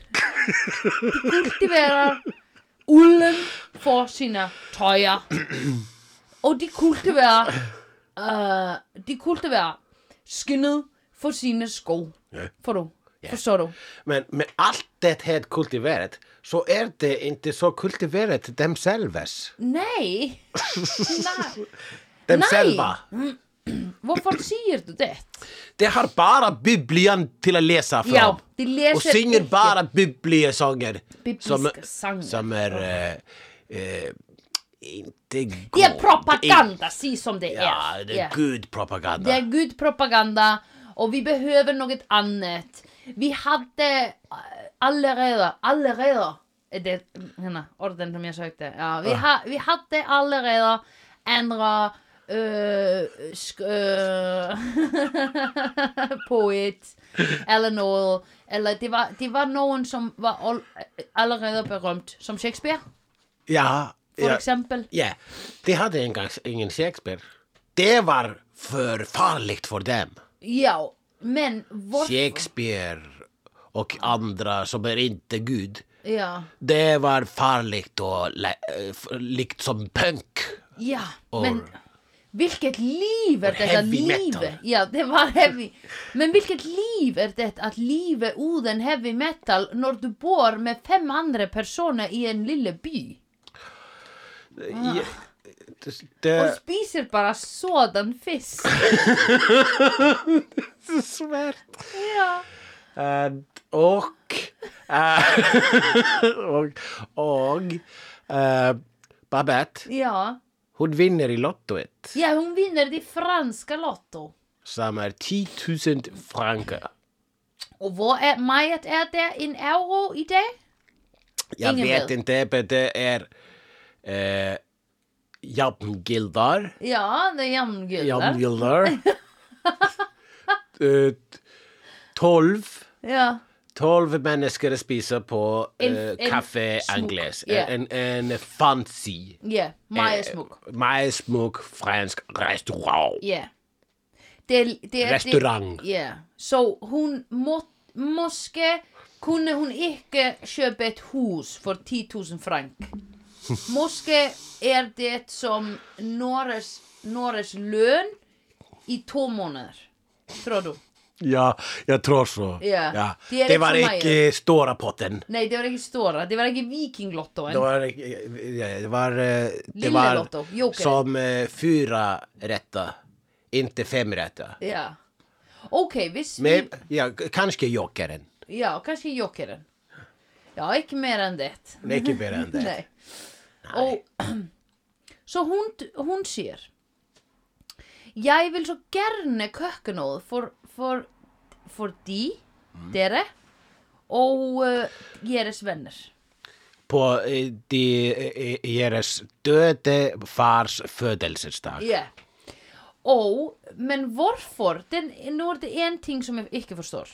A: kultiverer ulden for sine tøjer. Og de kultiverer, øh, de kultiverer skinnet for sine sko.
B: Ja.
A: For du. Forstår du?
B: Men med allt det här kultiverat så er det ikke så kultiveret themselves.
A: Nei! Nei.
B: Themselva.
A: Hvorfor sier du det?
B: Det har bare Biblian til å lese fra.
A: Ja, de leser
B: og synger
A: ikke.
B: bare bibliesanger.
A: Bibliske sanger.
B: Som er eh, eh, Ikke god
A: Det er propaganda, si som det er.
B: Ja, det
A: Ja.
B: er good propaganda.
A: Det är god propaganda och vi behöver något annat. Vi hade allerede, allerede, är det henne, orden som jag sökte. Ja, vi, ha, vi hade allerede ändra uh, sk, uh, poet eller något. Eller det var, det var någon som var all, allerede berömt, som Shakespeare,
B: Ja,
A: för
B: ja,
A: exempel.
B: ja. De hade en gång ingen Shakespeare. Det var för farligt för dem.
A: Ja, men varför?
B: Shakespeare och andra som är inte Gud.
A: Ja,
B: Det var farligt och le- eh, f- likt som punk.
A: Ja,
B: Og-
A: men vilket liv är
B: Och
A: detta
B: heavy metal.
A: livet? Ja, det var heavy. Men vilket liv är det att leva utan heavy metal när du bor med fem andra personer i en lille by?
B: Ja, det-
A: Och
B: Det
A: spiser bara sådan fisk.
B: är svärt.
A: Ja.
B: Eh, och, eh, och, och eh, Babette,
A: Ja.
B: hon vinner i lottoet
A: ja, hon vinner det franska lotto.
B: som är 10 000 franker.
A: Och vad är Majat är det en euro i det?
B: Jag
A: Ingen
B: vet
A: bil.
B: inte, men det är eh, Jamgildar.
A: Ja, det är jämngulda.
B: Jamgildar. Eh, 12.
A: Ja.
B: 12 människor spiser på
A: En-
B: eh,
A: en
B: kaffe
A: smock,
B: Angles.
A: ja.
B: En, en fancy. eh,
A: Ja, Maja smuk.
B: Majsmuk fransk restaurang.
A: Ja. Det, det,
B: Restaurang.
A: Det, ja. Så hun må, måske kunne hun ikke kjøpe et hus for 10 000 frank. Måske er det som Norges, Norges løn i to måneder. Tror du?
B: Ja, jag tror så.
A: Ja. Det är
B: Det var
A: liksom
B: inte stora potten.
A: Nei, det var ikke Stora. Det var ikke Vikinglottoen.
B: Det var, ja, det var, eh, det
A: Lille
B: var
A: Lotto, Joker.
B: som eh, fyra rätta, inte fem rätta.
A: Ja. OK, hvis vi
B: Men, ja, k- kanske jokeren.
A: Ja, kanskje jokeren. Ja, ikke mer enn det.
B: Det är inte mer än det.
A: Nei. Og, så hun, hun sier Jeg vil så gjerne køkke noe for, for, for de, dere og eh, deres venner.
B: På eh, de, eh, deras döde fars födelsedag.
A: Yeah. Og, men hvorfor? Den, nå er det én ting som jeg ikke forstår.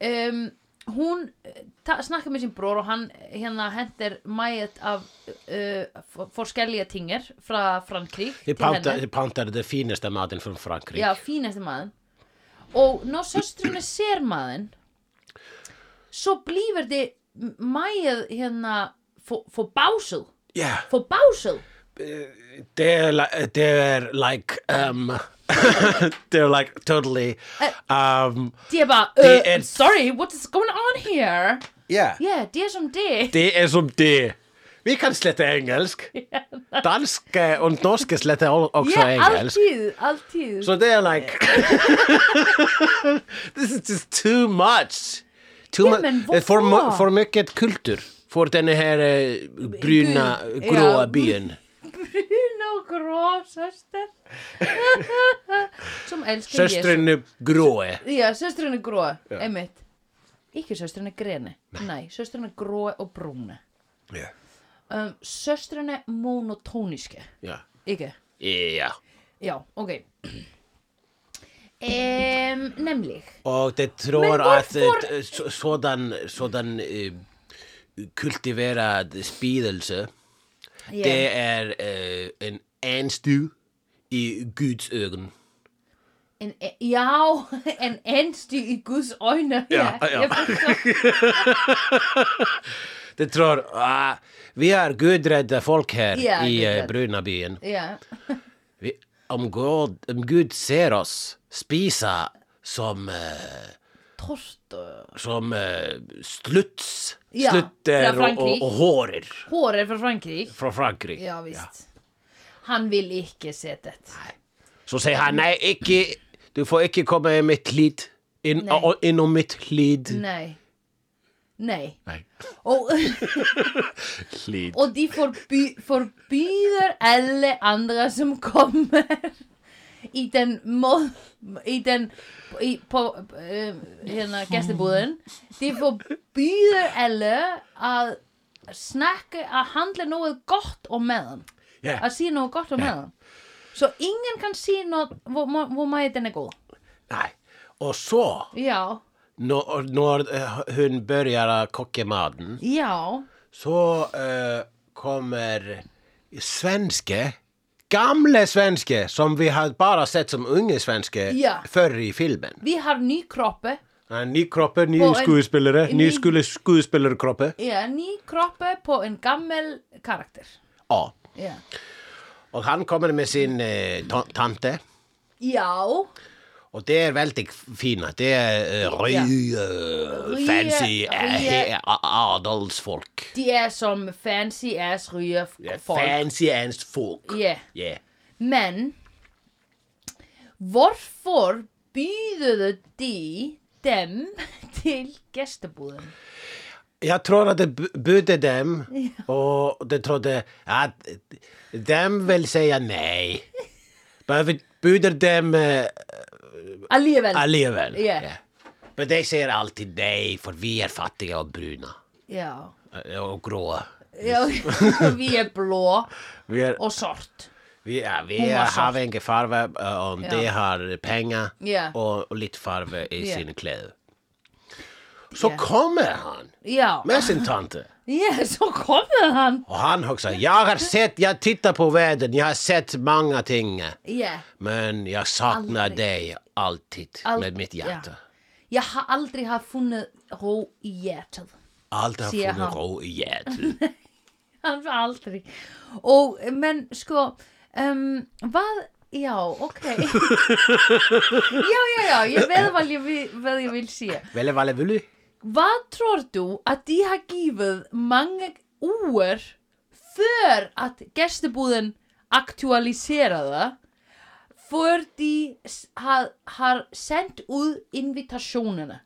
A: Um, hún eh, ta, snakkar með sín brór og hann eh, hérna hendir mæet af uh, forskelja tingar frá Frankrík
B: Vi
A: til hennar.
B: pantade, vi pantade den finaste maten från Frankrike.
A: Já, fínasti maður Og ná söstrunni sér maður Svo blífur þið mæið hérna Fór básuð
B: Ja.
A: Fór básuð
B: they're like they're like um they're like totally
A: Eh.
B: um
A: Þið er bara,
B: Det
A: uh,
B: er-
A: sorry, what is going on here?
B: yeah
A: Yeah, det er som det
B: det är som det vi kan släta engelsk danska och norska släta o- också
A: Yeah,
B: engelsk
A: alltid, alltid
B: so they're like this is just too much too
A: Ja,
B: much
A: men
B: det är för,
A: varför?
B: mu- för mycket kultur för den här eh, bruna
A: Gud,
B: gråa
A: ja.
B: byn
A: Bruna og grá söster Som elskar Jésu
B: söstrarna gråa
A: Já, söstrunni grói, einmitt Ekki söstrunni greni Nei, söstrunni grói och brúni
B: ja
A: um, Söstrunni monotóníske
B: ja
A: Ekki?
B: ja
A: Já, ok um, Nemlig
B: Og det
A: Men
B: tror at
A: hvorfor-
B: eh, så- sådan, sådan eh, kultiveret spidelse,
A: yeah.
B: det er eh, en anstue i Guds øgen.
A: en, e- Já, en enstu í Guðs óinu
B: Ja, ja. Det tror, ah, vi er gudredde folk her
A: Ja,
B: i
A: gudredde.
B: eh, Brunabyen.
A: Já,
B: Vi, om, Gud, om Gud ser oss spise som eh,
A: Tortor
B: Som uh, sluts
A: Já,
B: Slutter
A: frá
B: og, og,
A: Frankrike.
B: og hórir
A: Hår er frá Frankrík
B: Frá Frankrík
A: Já, víst Hann vil ekki setja þetta
B: Svo segir hann, nei, ekki Þú får ekki koma í mitt hlýt Inn,
A: Nei.
B: á, inn á mitt hlýt
A: Nei Nei
B: Nei,
A: Og,
B: hlýt
A: og de forby, forbyder alle andre som kommer i den må, i den i, på eh, hérna gestibúðin de forbyder alle að snakke að handla nógu gott og meðan
B: yeah.
A: að síða nógu gott og meðan svo ingen kann síða nóg hvor, hvor- hvor maðurinn er góð
B: Nei, og svo
A: já,
B: Når, når eh, hun börjar að kokka maten
A: já
B: Så eh, kommer svenske, gamle svenske som vi har bara sett som unge svenske
A: Ja.
B: förr i filmen.
A: við har ný kroppe
B: Ja, Ny kroppe, ny
A: Och en-
B: skuespelare,
A: en
B: ny
A: ny-
B: skole- skuespillerkroppe.
A: já, ný kroppe på en gammel karakter
B: Ja.
A: já,
B: Och han kommer med sin eh, ta- tante.
A: já
B: Och det är väldigt fina. Det är eh, ry,
A: Ja.
B: eh,
A: Ry-
B: fancy eh,
A: ry-
B: he- a- adelsfolk.
A: De er som fancy ass ryge f-
B: Ja,
A: folk.
B: Fancy ass folk.
A: Ja.
B: Ja.
A: Men hvorfor byðuðu de dem til gestebúðum?
B: Jag tror att det bu- budde dem och det trodde att dem vill säga nej. Bara vi buder dem eh,
A: Allível.
B: alligevel.
A: Ja.
B: Ja. Men de säger alltid nej för vi är fattiga och bruna
A: Já.
B: eh, och gråa.
A: Já, við er blå
B: Vi, är,
A: og sort.
B: vi, ja, vi
A: Hon var svart.
B: har ingen farve eh, om
A: Ja.
B: de har pengar
A: Ja.
B: och, och lite farve i
A: Ja.
B: sina kläder. Så
A: Ja.
B: kommer han
A: Já.
B: med sin tante.
A: Já, svo komið hann.
B: Och han också, jag har sett, jag tittar på världen, jag har sett många ting.
A: Já.
B: Men jag saknar
A: Aldrig.
B: dig alltid
A: Al-
B: med mitt hjärta.
A: ja. Ég haf aldrei haf funnið ró í hjertað.
B: Allt har
A: Ser
B: funnits
A: han.
B: ro i hjärtat.
A: Hann var aldrei. Og, menn, sko, um, hvað, já, ok. já, já, já, ég veð hvað ég, vi- hvað ég vil sé.
B: Velle, valle, vulli?
A: Hvað tror þú að de har gífið mange úr för að gestibúðin aktualisera það för de s- har, har sendt út invitationerna.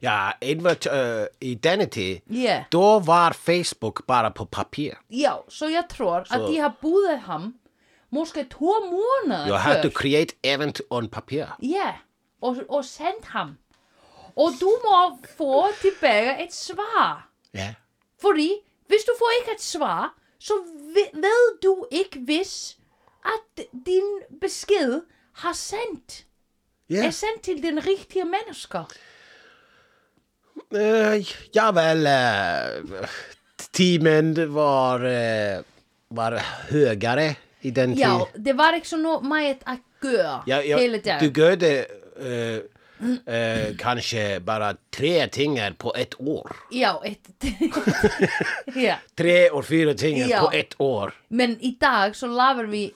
B: Ja, invert, uh, i denna tid,
A: Yeah.
B: då var Facebook bara på papper.
A: Já, svo ég tror
B: Så-
A: að de har búðið ham måske tvo måneder
B: Jag hade create event on papper.
A: Ja, og, og sendt ham. Og du må få tilbage et svar.
B: Ja.
A: Fordi hvis du får ikke et svar, så ve- ved du ikke, hvis at din besked har sendt, er
B: Yes.
A: sendt til den rigtige mennesker.
B: Uh, ja, väl, uh, teamen var, eh, var högare i den
A: Ja,
B: tiden.
A: det var ikke så noe meget at gøre
B: Ja, ja,
A: hele dagen.
B: Du gjorde eh, eh, kanske bara tre tingar på ett år.
A: Ja, et... ja.
B: Tre och fyra tingar
A: Ja.
B: på ett år.
A: Men i dag så laver vi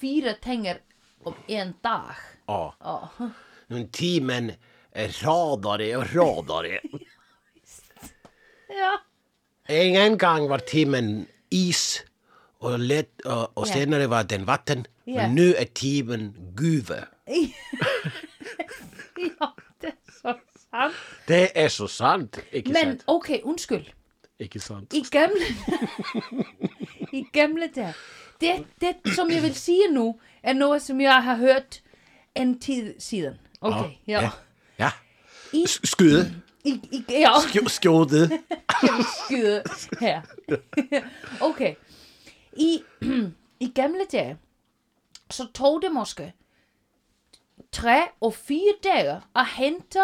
A: fire tenger om en dag.
B: Ja.
A: Ja.
B: Men teamen radade och radade.
A: Ja.
B: en gång var teamen is och, lätt, och, och
A: Ja.
B: senare var den vatten.
A: Ja.
B: Men nu är teamen guve.
A: ja, det er så sant.
B: Det är så sant. Icke
A: Men
B: sant.
A: ok, undskyld.
B: Icke sant.
A: I gamle... I gamle dage. Det, det, som jeg vil sige nu, er noget, som jeg har hørt en tid siden. Okay, ja.
B: Ja. ja.
A: I-
B: S- Skude.
A: I, i, ja.
B: Sk- Skåde.
A: jeg vil skyde her. okay. I, I gamle dage, så tog det måske tre og fire dage at hente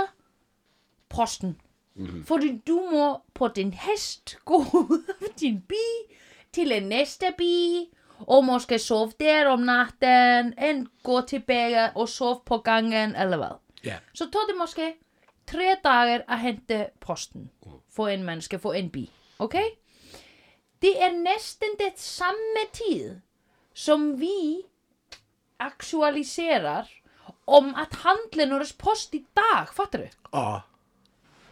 A: posten. Mm-hmm. Fordi du må på din hest gå ud af din bi til en næste bi, og måske sove der om natten, en gå tilbage og sove på gangen, eller hvad.
B: Ja.
A: Så tog det måske tre dager at hente posten for en menneske, for en bi. Okay? Det er næsten det samme tid, som vi um aktualiserer om at handle vores post i dag, fatter du?
B: Ja.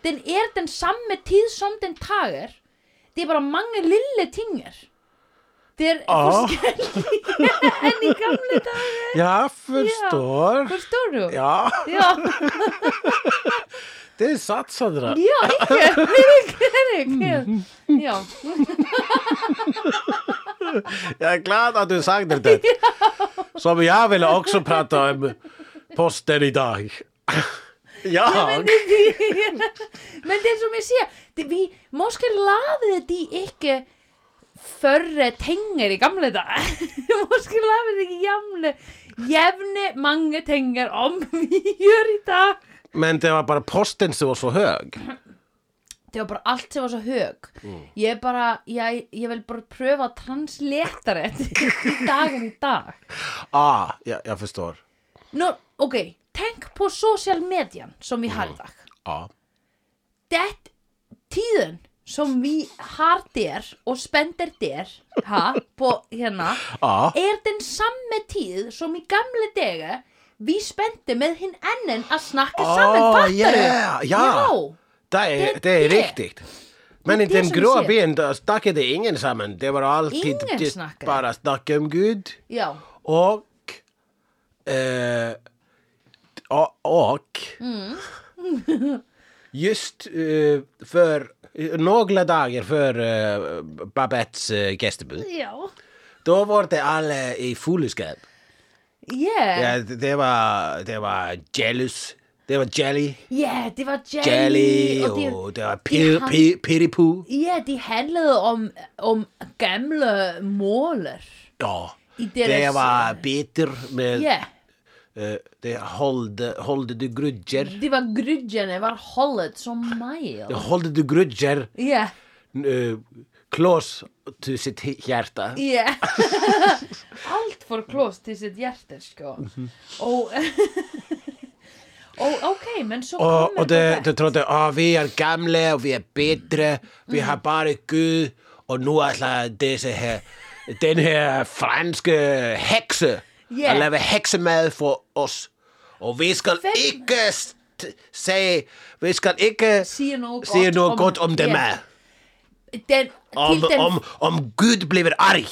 A: den er den samme tid som den tager. Det er bare mange lille tinger. Det er
B: Åh.
A: forskjellig enn i gamle dager.
B: Ja, förstår.
A: Forstår du?
B: Ja,
A: Ja,
B: det är sant Sandra.
A: ja, ikke, ikke, ikke, ja,
B: Jag är glad att du sa det där. Som jag ville också prata om posten idag. Ja,
A: men det er som ég sé, det, vi, måske laðið de ikke förre tengar í gamla dag, måske laðið ekki jamle, jævne mange tengar om vi gjør í dag.
B: men det var bara posten som var så hög.
A: Det var bara allt sem var svo hög. Ég er bara, ég, ég vil bara pröfa að transleta þetta í daginn í dag.
B: Ah, ja, jag förstår.
A: Nú, ok, tenk på social median som vi har í dag.
B: Ja.
A: Det tíðin sem við har þér og spendir þér ha, på, hérna,
B: Ja.
A: er den samme tíð som í gamle dega við spendi með hinn ennin að snakka
B: Ó,
A: saman, fattar
B: Oh, yeah, ja. Det är, det
A: Det-
B: är riktigt. Men i
A: det
B: den
A: som
B: grå
A: ser.
B: byn då snackade ingen samman. Det var alltid
A: Ingen
B: just
A: snackade.
B: bara snack om Gud
A: Já,
B: och... Eh, och... och
A: Mm.
B: just eh, för eh, några dagar före eh, Babettes eh, gästebud,
A: já,
B: då var det alla i fullskap.
A: yeah.
B: Ja, det det var, det var jealous, det var jelly.
A: yeah, det var jelly,
B: Jelly,
A: og det,
B: og det var
A: de har-
B: Piripu.
A: ja, de handlede om, om gamle måler
B: Ja,
A: i deres...
B: det var bitter med
A: Ja,
B: eh, det holde, holde du grudger.
A: det var grudgene, var holdet som mæl.
B: Holde du grudger,
A: Ja,
B: eh, klås til sitt hjärta.
A: já. Allt fór klós til sitt hjertir, sko.
B: Mhm.
A: Og, og ok, menn svo
B: Og,
A: kommer
B: og det,
A: þetta.
B: det trodde, å, vi er gamle, og vi er bedre, vi
A: Mm.
B: har bare Gud, og nu er det disse her, den her franske hekse,
A: Ja.
B: og lave heksemad for os. Og vi skal
A: Fem-
B: ikke st- sige, vi skal ikke
A: Sige noget
B: sige
A: godt
B: noget
A: om-
B: godt om det
A: ja.
B: mad.
A: Den,
B: um Om,
A: til, den,
B: om, om Gud bliver arg.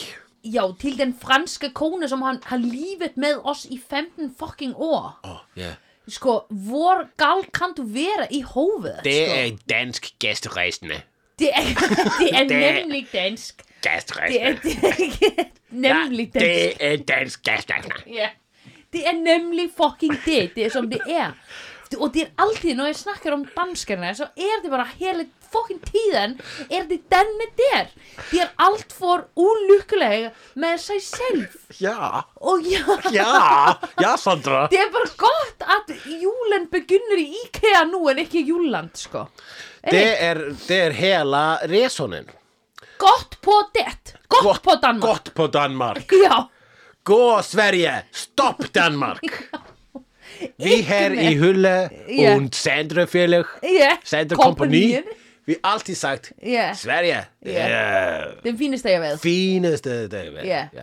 A: já, til den franske kone som hann har lífet með oss í 15 fucking år.
B: Oh, yeah.
A: Sko, hvor gal kan du vera í hófið?
B: Det
A: sko?
B: er dansk gæsterejsende.
A: Det er, det er
B: Det-
A: nemlig dansk. Det er,
B: Gæsterejsende.
A: det er nemlig dansk.
B: det er dansk gæsterejsende.
A: Ja. Det er nemlig fucking det, det er som det er. Og det er alltid, når jeg snakker om danskarna, så er det bare hele fucking tiden, er det denne der. De er alt for ulykkelige med sig selv.
B: Ja,
A: Og ja,
B: ja, ja, Sandra.
A: det er bare godt at julen begynder i IKEA nu, en ikke i Jylland, sko. Er det
B: Det er, det er hela resonen.
A: godt på det? Godt, på Danmark.
B: Gott på Danmark.
A: Ja.
B: Gå Sverige, stopp Danmark. Vi här i Hulle
A: Ja.
B: och Sandrefjällig,
A: Ja.
B: Sandrekompani, vi har alltid sagt
A: Ja.
B: Sverige, det
A: Ja.
B: är
A: Den fineste jeg har været.
B: finaste det är.
A: Ja.
B: Ja.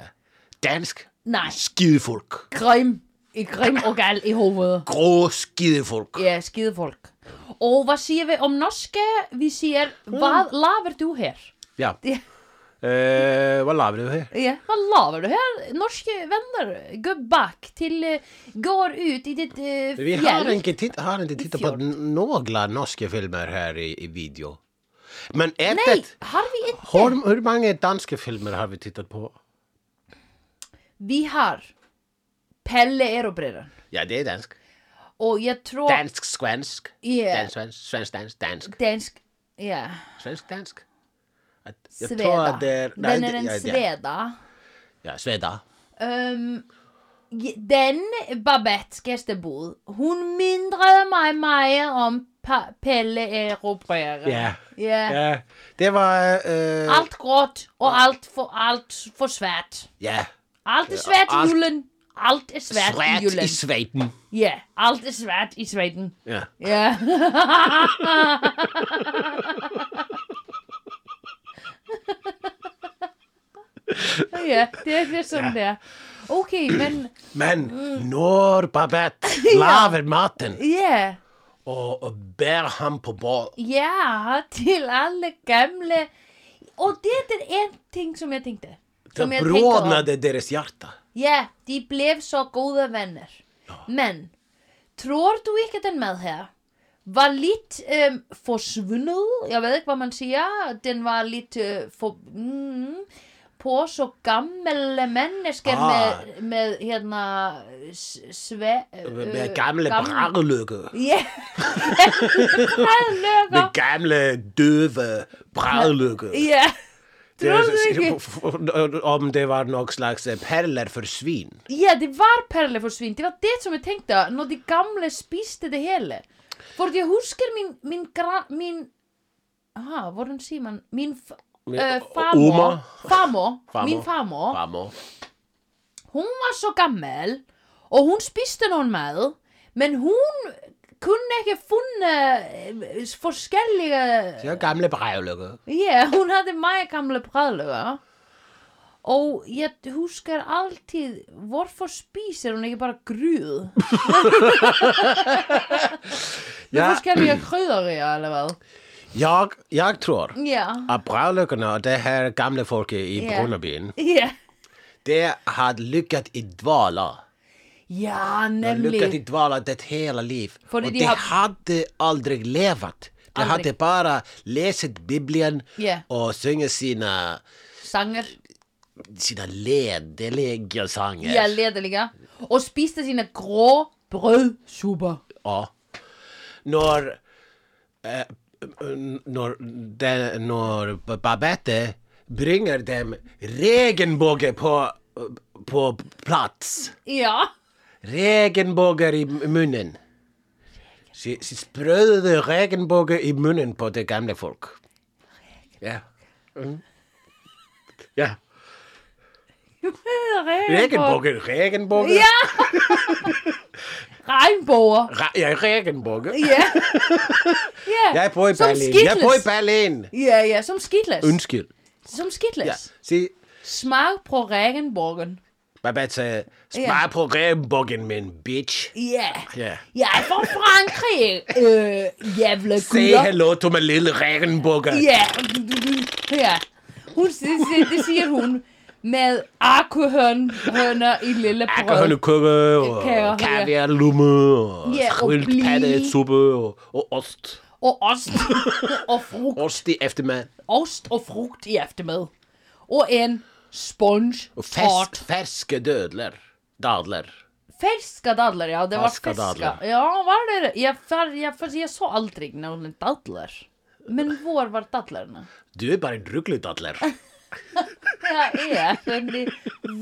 B: Dansk,
A: Nej.
B: skidefolk.
A: Grim. I grim og gal i hovedet.
B: Grå skidefolk.
A: Já, skýðfólk. Og hvað séum við om norske? Við séum, hvað lafur þú hér?
B: Ja.
A: Ja.
B: Eh, vad lavar du här?
A: Ja. Hvað lafur þú hér? Norske venner, gå back til, uh, går ut í ditt uh,
B: Vi har inte, titt, har inte tittat på
A: fjort.
B: n- några norska filmer här i, i video. Men är
A: Nei,
B: det...
A: har við inte?
B: Hur, hur många danska filmer har vi tittat på?
A: Við har Pelle Erobreran.
B: Ja, det är dansk.
A: Og ég tror
B: Dansk, svensk.
A: Ja.
B: Dansk, svensk, svensk, dansk, dansk.
A: dansk, já,
B: Svensk, dansk. Att- Jag
A: sveda.
B: tror att det är... nej,
A: Den er
B: det-
A: en
B: ja, ja.
A: sveda.
B: Ja, sveda.
A: Um, den Babette gæstebud, hun mindrede mig meget om pa- Pelle Erobrera.
B: Ja.
A: Ja.
B: Ja, det var... eh,
A: Alt gråt og alt for, alt for svært.
B: ja.
A: Alt er svært i
B: alt-
A: julen. Alt er svært, i
B: Svett
A: julen.
B: i Sveden.
A: Ja, alt er svært i Sveden.
B: Ja.
A: Ja. ja, det er det, som det er. Okay, men Mm.
B: Men når Babette laver maten
A: ja,
B: og og ber ham på bål.
A: Ja, til alle gamle Og det er en ting som jeg tenkte Som
B: Det
A: jeg tenkte om.
B: brådnade deras hjärta.
A: Ja, de blev så goda vänner Men Tror du ikke at den mad her Var lidt øhm, forsvundet Jeg ved ikke, hvad man siger Den var lidt øh, for, mm, På så gamle mennesker
B: Ah.
A: med, med hérna s- sve, øh,
B: Med gamle brædlykker.
A: Ja, bræðlögur
B: Med gamle døve brædlykker.
A: Ja, tror du ikke?
B: Om det var någon slags eh, perler för svin.
A: Ja, det var perler for svin. Det var det som jeg tenkte når de gamle spiste det hele. For jeg husker min, min, gra, min aha, hvordan sier man? Min f-
B: Min-
A: eh, famo,
B: Oma.
A: famo,
B: Famo.
A: min famo,
B: Famo.
A: hún var svo gammel og hún spiste noen mad, men hún kunne ikke funne eh, forskellige...
B: Det var gamle brædlykker.
A: Já, hún hafði mæg gamla bræðlega og ég huskar alltíð hvorfor spísir hún ekki bara grúð
C: Ja.
A: hvorfor skal ég kröðar í alveg vel
B: Jag, jag tror
A: já,
B: att brædlykkorna och det här gamla folket i
A: Ja.
B: Brunabyn,
A: já,
B: det har lyckats i dvala.
A: já,
B: De har lyckats i
A: nemlig
B: dvala det hela liv.
A: För
B: och
A: de
B: de
A: har-
B: hade aldrig levat. De
A: Aldrig.
B: hade bara läst Bibeln
A: Ja.
B: och sjungit sina,
A: sanger,
B: sina lediga sånger.
A: já, leta líka og spíste sína gró bröðsúpa
B: Ja. När, eh, när, de, när Babette bringar dem regenbåge på, på plats.
A: já,
B: Regenbågar i munnen. Så, så sprödde regenbågar i munnen på det gamla folk. Ja. Mm. Ja.
A: regnbók
B: Regenbågar, regenbågar.
A: já regnbóa
B: Ra- Ja, regenbågar.
A: já, já
B: Jag är på i
A: som
B: Berlin. Jag är på i
A: skitles
B: Berlin.
A: já, já, som skitles
B: Undskyld.
A: som
B: Ja.
A: skitles
B: Se,
A: Smag på regenborgen.
B: Babat sagde, smag
A: Ja.
B: på regenbågen, min bitch.
A: Ja.
B: Ja.
A: Jeg er fra Frankrig. Øh, jævla
B: Say
A: gutter.
B: hello to my lille regenbåger.
A: Ja. ja. Hun, det, det, det siger hun med akkuhønner i lille brød.
B: Akkehønnekukke og
A: Kager, ja.
B: kaviarlumme og
A: Ja, og
B: skrylt
A: blie.
B: pattesuppe og, og ost.
A: Og ost og frugt.
B: Ost i eftermiddag.
A: Ost og frugt i eftermiddag. Og en sponge
B: Og
A: tart.
B: fest, ferske dødler. Dadler.
A: Ferska dadler, ja. Det var
B: Ferska
A: ferska.
B: dadler.
A: Ja, var det det? Jeg, jeg, jeg, jeg så aldri noen dadler. Men hvor var dadlerne?
B: Du er bare en rugledadler.
A: Það er þannig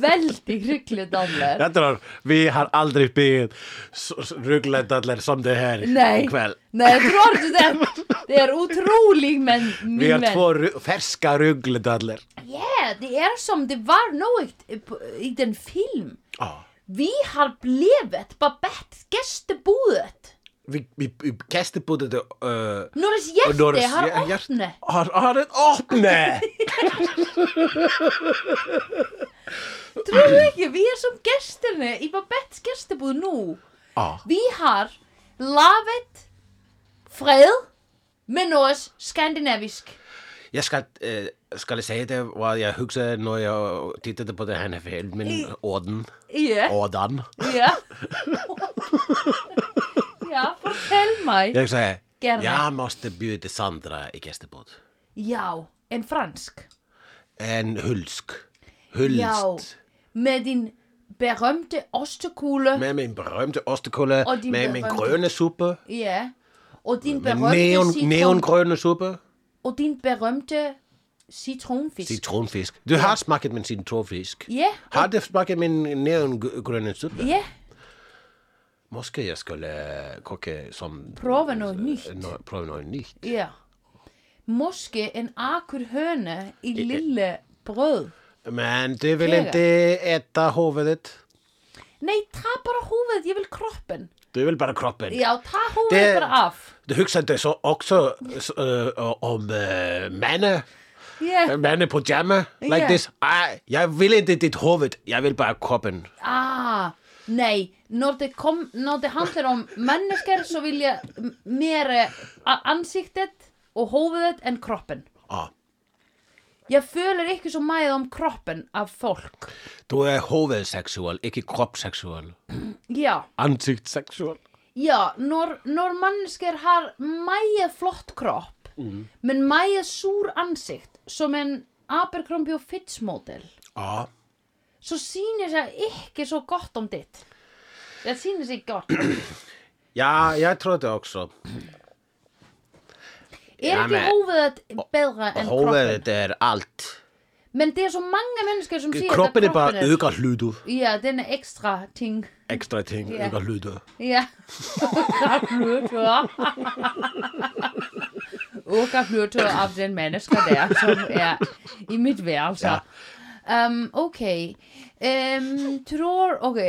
A: veldig hrygglið dallar.
C: Jag tror vi har aldrig blivit så- så ruggledadler som det här
A: Nei,
C: ikväll.
A: nei, tror du det? Det er utrolig menn,
C: Vi
A: min
C: har
A: menn.
C: två ru- färska ruggledadler.
A: Ja, det er som det var något i den film.
B: Ja.
A: Vi har blivit Babette gästeboet.
B: Vi, vi, vi kaster på det øh,
A: Norris
B: Og
A: hjerte
B: Norris
A: har
B: hjer- hjerte.
A: åpnet.
C: Har, har ett åpne!
A: Tror du ekki, við erum som gestirni í Babettes gestibúð nú.
C: Ja.
A: Við har lavet fred með nås skandinavisk.
B: Jeg skal, øh, skal jeg sige det, hvor jeg husker, når jeg tittede på det her filmen,
A: I-
B: Åden.
A: Ja.
B: Ådan.
A: Ja. ja, fortell meg.
B: Jeg sagde,
A: Gerne.
B: jeg måste bjuda Sandra i gæstebod.
A: Já, en fransk.
B: En hulsk.
A: Já,
B: Hulst.
A: með din berömte ostekule.
B: Med min berømte ostekulle,
A: Og din
B: med min
A: berømte-
B: grønne suppe,
A: Ja. Og din
B: med
A: berömte
B: neon,
A: citron.
B: neongrønne suppe,
A: Og din berömte citronfisk.
B: citronfisk. Du har smagt min citronfisk.
A: ja,
B: Har du smagt min neongrønne suppe?
A: ja.
B: Måske jeg skulle øh, kokke som...
A: Prøve noget nyt.
B: Nå- Prøve noget nyt.
A: Ja. Måske en akur høne i
B: Øh,
A: lille brød.
B: Men du vill
A: Flera.
B: inte äta huvudet.
A: Nei, ta bara hovedet, jeg vil kroppen.
B: Du vill bara kroppen.
A: Já, ta hovedet
B: Det-
A: bara af.
B: Du huxade så också s- eh, om uh, männen. eh,
A: Ja.
B: Männen på jamma. Like Ah,
A: Ja.
B: this. Nej, jag vill inte ditt huvud. Jag vill bara kroppen.
A: Ah, Nei, når det, kom, um når det handler om mennesker så vil jeg m- mer eh, a- ansiktet og hovedet enn kroppen.
D: Ja.
A: Ég føler ekki svo mæð om kroppen af fólk.
B: Du er hovedseksual, ikke kroppsseksual.
A: Já,
D: Ansiktsseksual
A: já, når, når mennesker har mæð flott kropp, menn mæð súr ansikt, som en Abercrombie og Fitch model,
B: Ja.
A: svo sýnir það ekki svo gott om ditt. Það sýnir sig gott.
B: Ja, jeg tror det også.
A: Er
B: Ja,
A: ekki
B: men-
A: hófiðet betra enn kroppen?
B: Hovedet er alt.
A: Men det er svo mange mennesker sem séu
B: Kroppen er bare økerlydet.
A: Já, den er ekstra ting
B: Ekstra ting,
A: Ja.
B: økerlydet.
A: Já Hlutur Okkar hlutur af den menneska der sem er í mitt verð
B: Ja.
A: um, Ok um, Tror, ok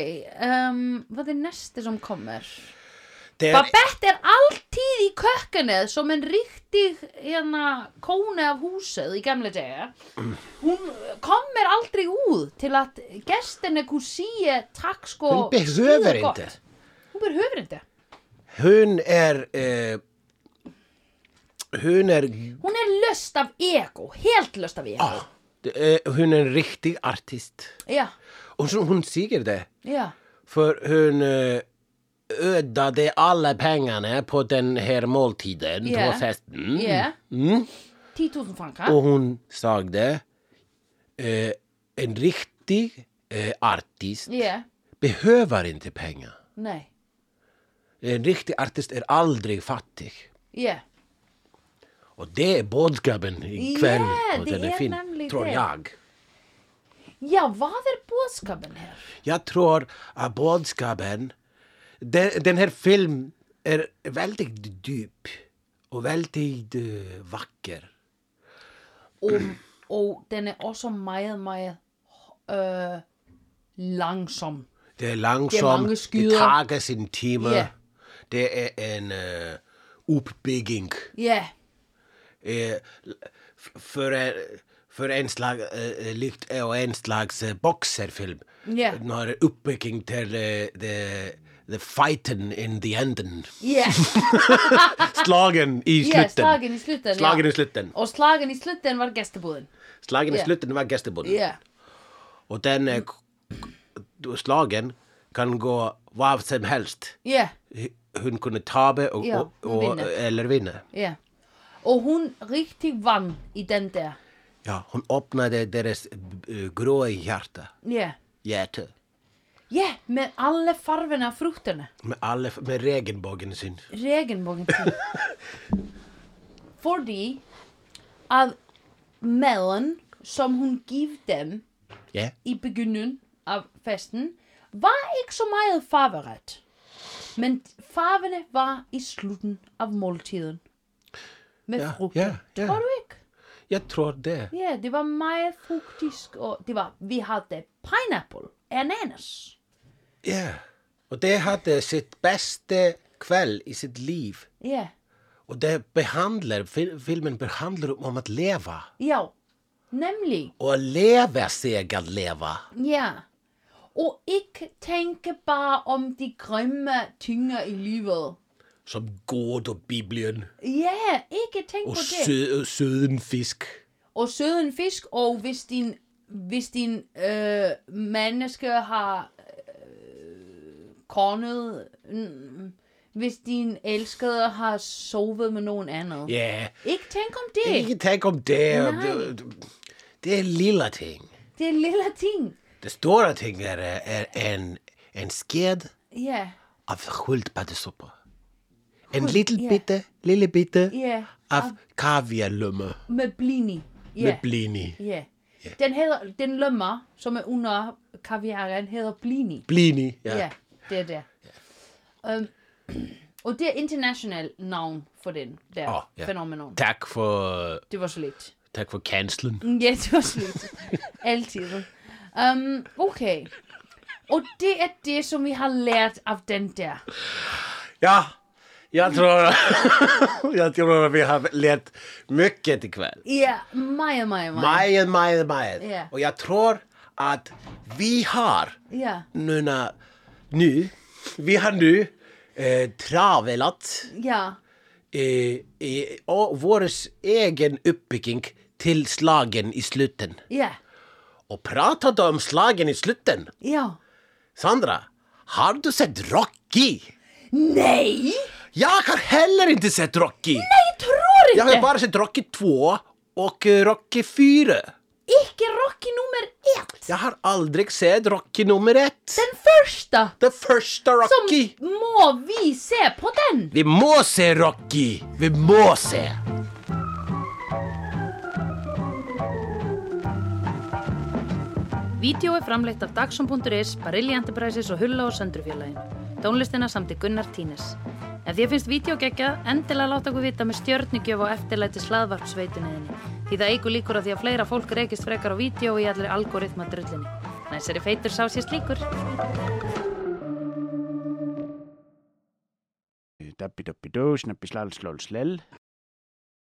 A: um, Hvað er næsti sem kommer?
B: Det er,
A: Babette er alltíð í kökkunnið som en riktig hérna, kóni af húsið í gamla daga. Hún kommer aldrei út til að gestinni kusíi takk sko...
B: Hún behöver
A: hýðu gott.
B: inte.
A: Hún behöver inte.
B: hun er... Eh, hun er...
A: Hún er löst af ego, helt löst af ego.
B: Ah, det er- hun er en riktig artist.
A: Já,
B: Og så hun sier det.
A: já,
B: For hun eh, ödade alla pengarna på den här måltiden
A: Ja.
B: på festen.
A: já.
B: Mm.
A: 10.000 franka.
B: Och hon sagde, eh, en riktig eh, artist
A: Já,
B: behöver inte pengar.
A: nei,
B: En riktig artist är aldrig fattig.
A: já.
B: Och det är budskapen ikväll
A: Ja,
B: på
A: det
B: den
A: är
B: här
A: nämligen
B: filmen, tror
A: det.
B: jag.
A: Já, hvað er bóðskapin hér?
B: Jag tror att budskapen, den, den här filmen är väldigt djup och väldigt eh, vacker.
A: og, og den er også meget, meget øh, langsom.
B: Det er langsomt.
A: Det er mange
B: Det
A: skyder.
B: tager sin time.
A: Ja.
B: Det er en øh, opbygging.
A: Ja,
B: Øh, f- for, øh, for en slags, øh, likt og en slags øh, bokserfilm.
A: Ja.
B: Når opbygging til øh, the, the fighten in the enden.
A: ja.
B: Slagen i slutten.
A: ja slagen i slutten.
B: Slagen
A: ja.
B: i slutten.
A: Og slagen i slutten var gestebúðin.
B: Slagen
A: Ja.
B: i slutten var gæstebunden.
A: Ja,
B: Og den øh, k- slagen kan gå hvad som helst.
A: ja,
B: Hun kunne tabe og,
A: Ja,
B: og,
A: hun
B: og,
A: vinder.
B: eller vinde.
A: ja. Og hún rigtig vann í den der.
B: Ja, hun åpnade deres eh, grå hjerte.
A: Ja,
B: Hjerte.
A: ja, með alle farfina frúttuna.
B: Med, alle, med regenbogen sin.
A: Regenbogen til. Fordi að meðan som hún gif dem
B: Ja.
A: i begynnelsen af festen, var ikke så meget farveret. Men farvene var i slutten af måltiden. Med
B: Ja,
A: frugter.
B: ja, ja.
A: Tror du ikke?
B: Jeg tror det.
A: Ja, det var meget frugtisk. Og det var, vi havde pineapple, ananas.
B: Ja. Og det hadde sitt beste kveld i sitt liv.
A: Ja,
B: Og det behandler, fil, filmen behandler om at leve.
A: ja. Nemlig,
B: Og å leve seg at leve.
A: ja. Og ikke tænke bare om de grimme tynger i livet.
B: Som god og Bibelen.
A: Ja, ikke tænke
B: Og
A: på det.
B: sø, søden fisk.
A: og søden fisk, og hvis din, hvis din øh, menneske har øh, kornet, mm, hvis din elskede har sovet med nogen andet.
B: Ja.
A: Ikke tænk om det.
B: Ikke tenk om det.
A: Nej.
B: Det, det er lilla ting.
A: Det er lille ting.
B: Det store ting er, er en, en sked
A: Ja,
B: av skyldpaddesuppe. En liten
A: ja.
B: bitte, lille bitte
A: ja.
B: av kaviarlømme
A: Med blini.
B: med
A: Ja,
B: blini.
A: ja. Den, hedder, den lømmer, som er under kaviaren, hedder blini.
B: Blini, ja.
A: Ja, det er det. Um, og det er internationalt navn for den der
B: Åh, ja.
A: fænomenon.
B: Takk for,
A: Det var så lidt.
B: takk for cancelen.
A: Mm, Ja, det var slut. Altid. Um, okay. Og det er det, som vi har lært af den der.
B: Ja, jeg tror, jeg tror vi har lært mye i kveld.
A: Ja, meget, meget, meget.
B: Meget, meget, meget.
A: Ja.
B: Og jeg tror at vi har
A: Ja,
B: noen nu, vi har nu eh, travelat
E: Ja,
B: eh, eh, och vår egen uppbygging till slagen i sluten.
E: ja,
B: Och pratade om slagen i sluten.
E: já
B: Sandra, har du sett Rocky?
E: Nei,
B: Jag har heller inte sett Rocky!
E: ég trúr
B: Jag
E: ekki
B: har bara sett Rocky 2 och eh, Rocky 4.
E: Ekki Rocky nummer 1
B: Jag har aldrig sett Rocky nummer ett.
E: Den första
B: Den första
E: Som
B: Rocky.
E: må vi se på den
B: Vi må se Rocky! Vi må se!
A: Vídeó er framleitt af Dagsum.is, Barilli Enterprises og Hulla og Söndrufjörlægin. Tónlistina samt í Gunnar Tínes. Ef því finnst vídeo geggja, endilega láta okkur vita með stjörnigjöf og eftirlæti slaðvarpsveituninni. Því það eigur líkur á því að fleira fólk reykist frekar á vídeo í allir algoritma drullinni. Næsari feitur sá sér slíkur.
F: Dabbi dabbi do, snabbi slall slall slell.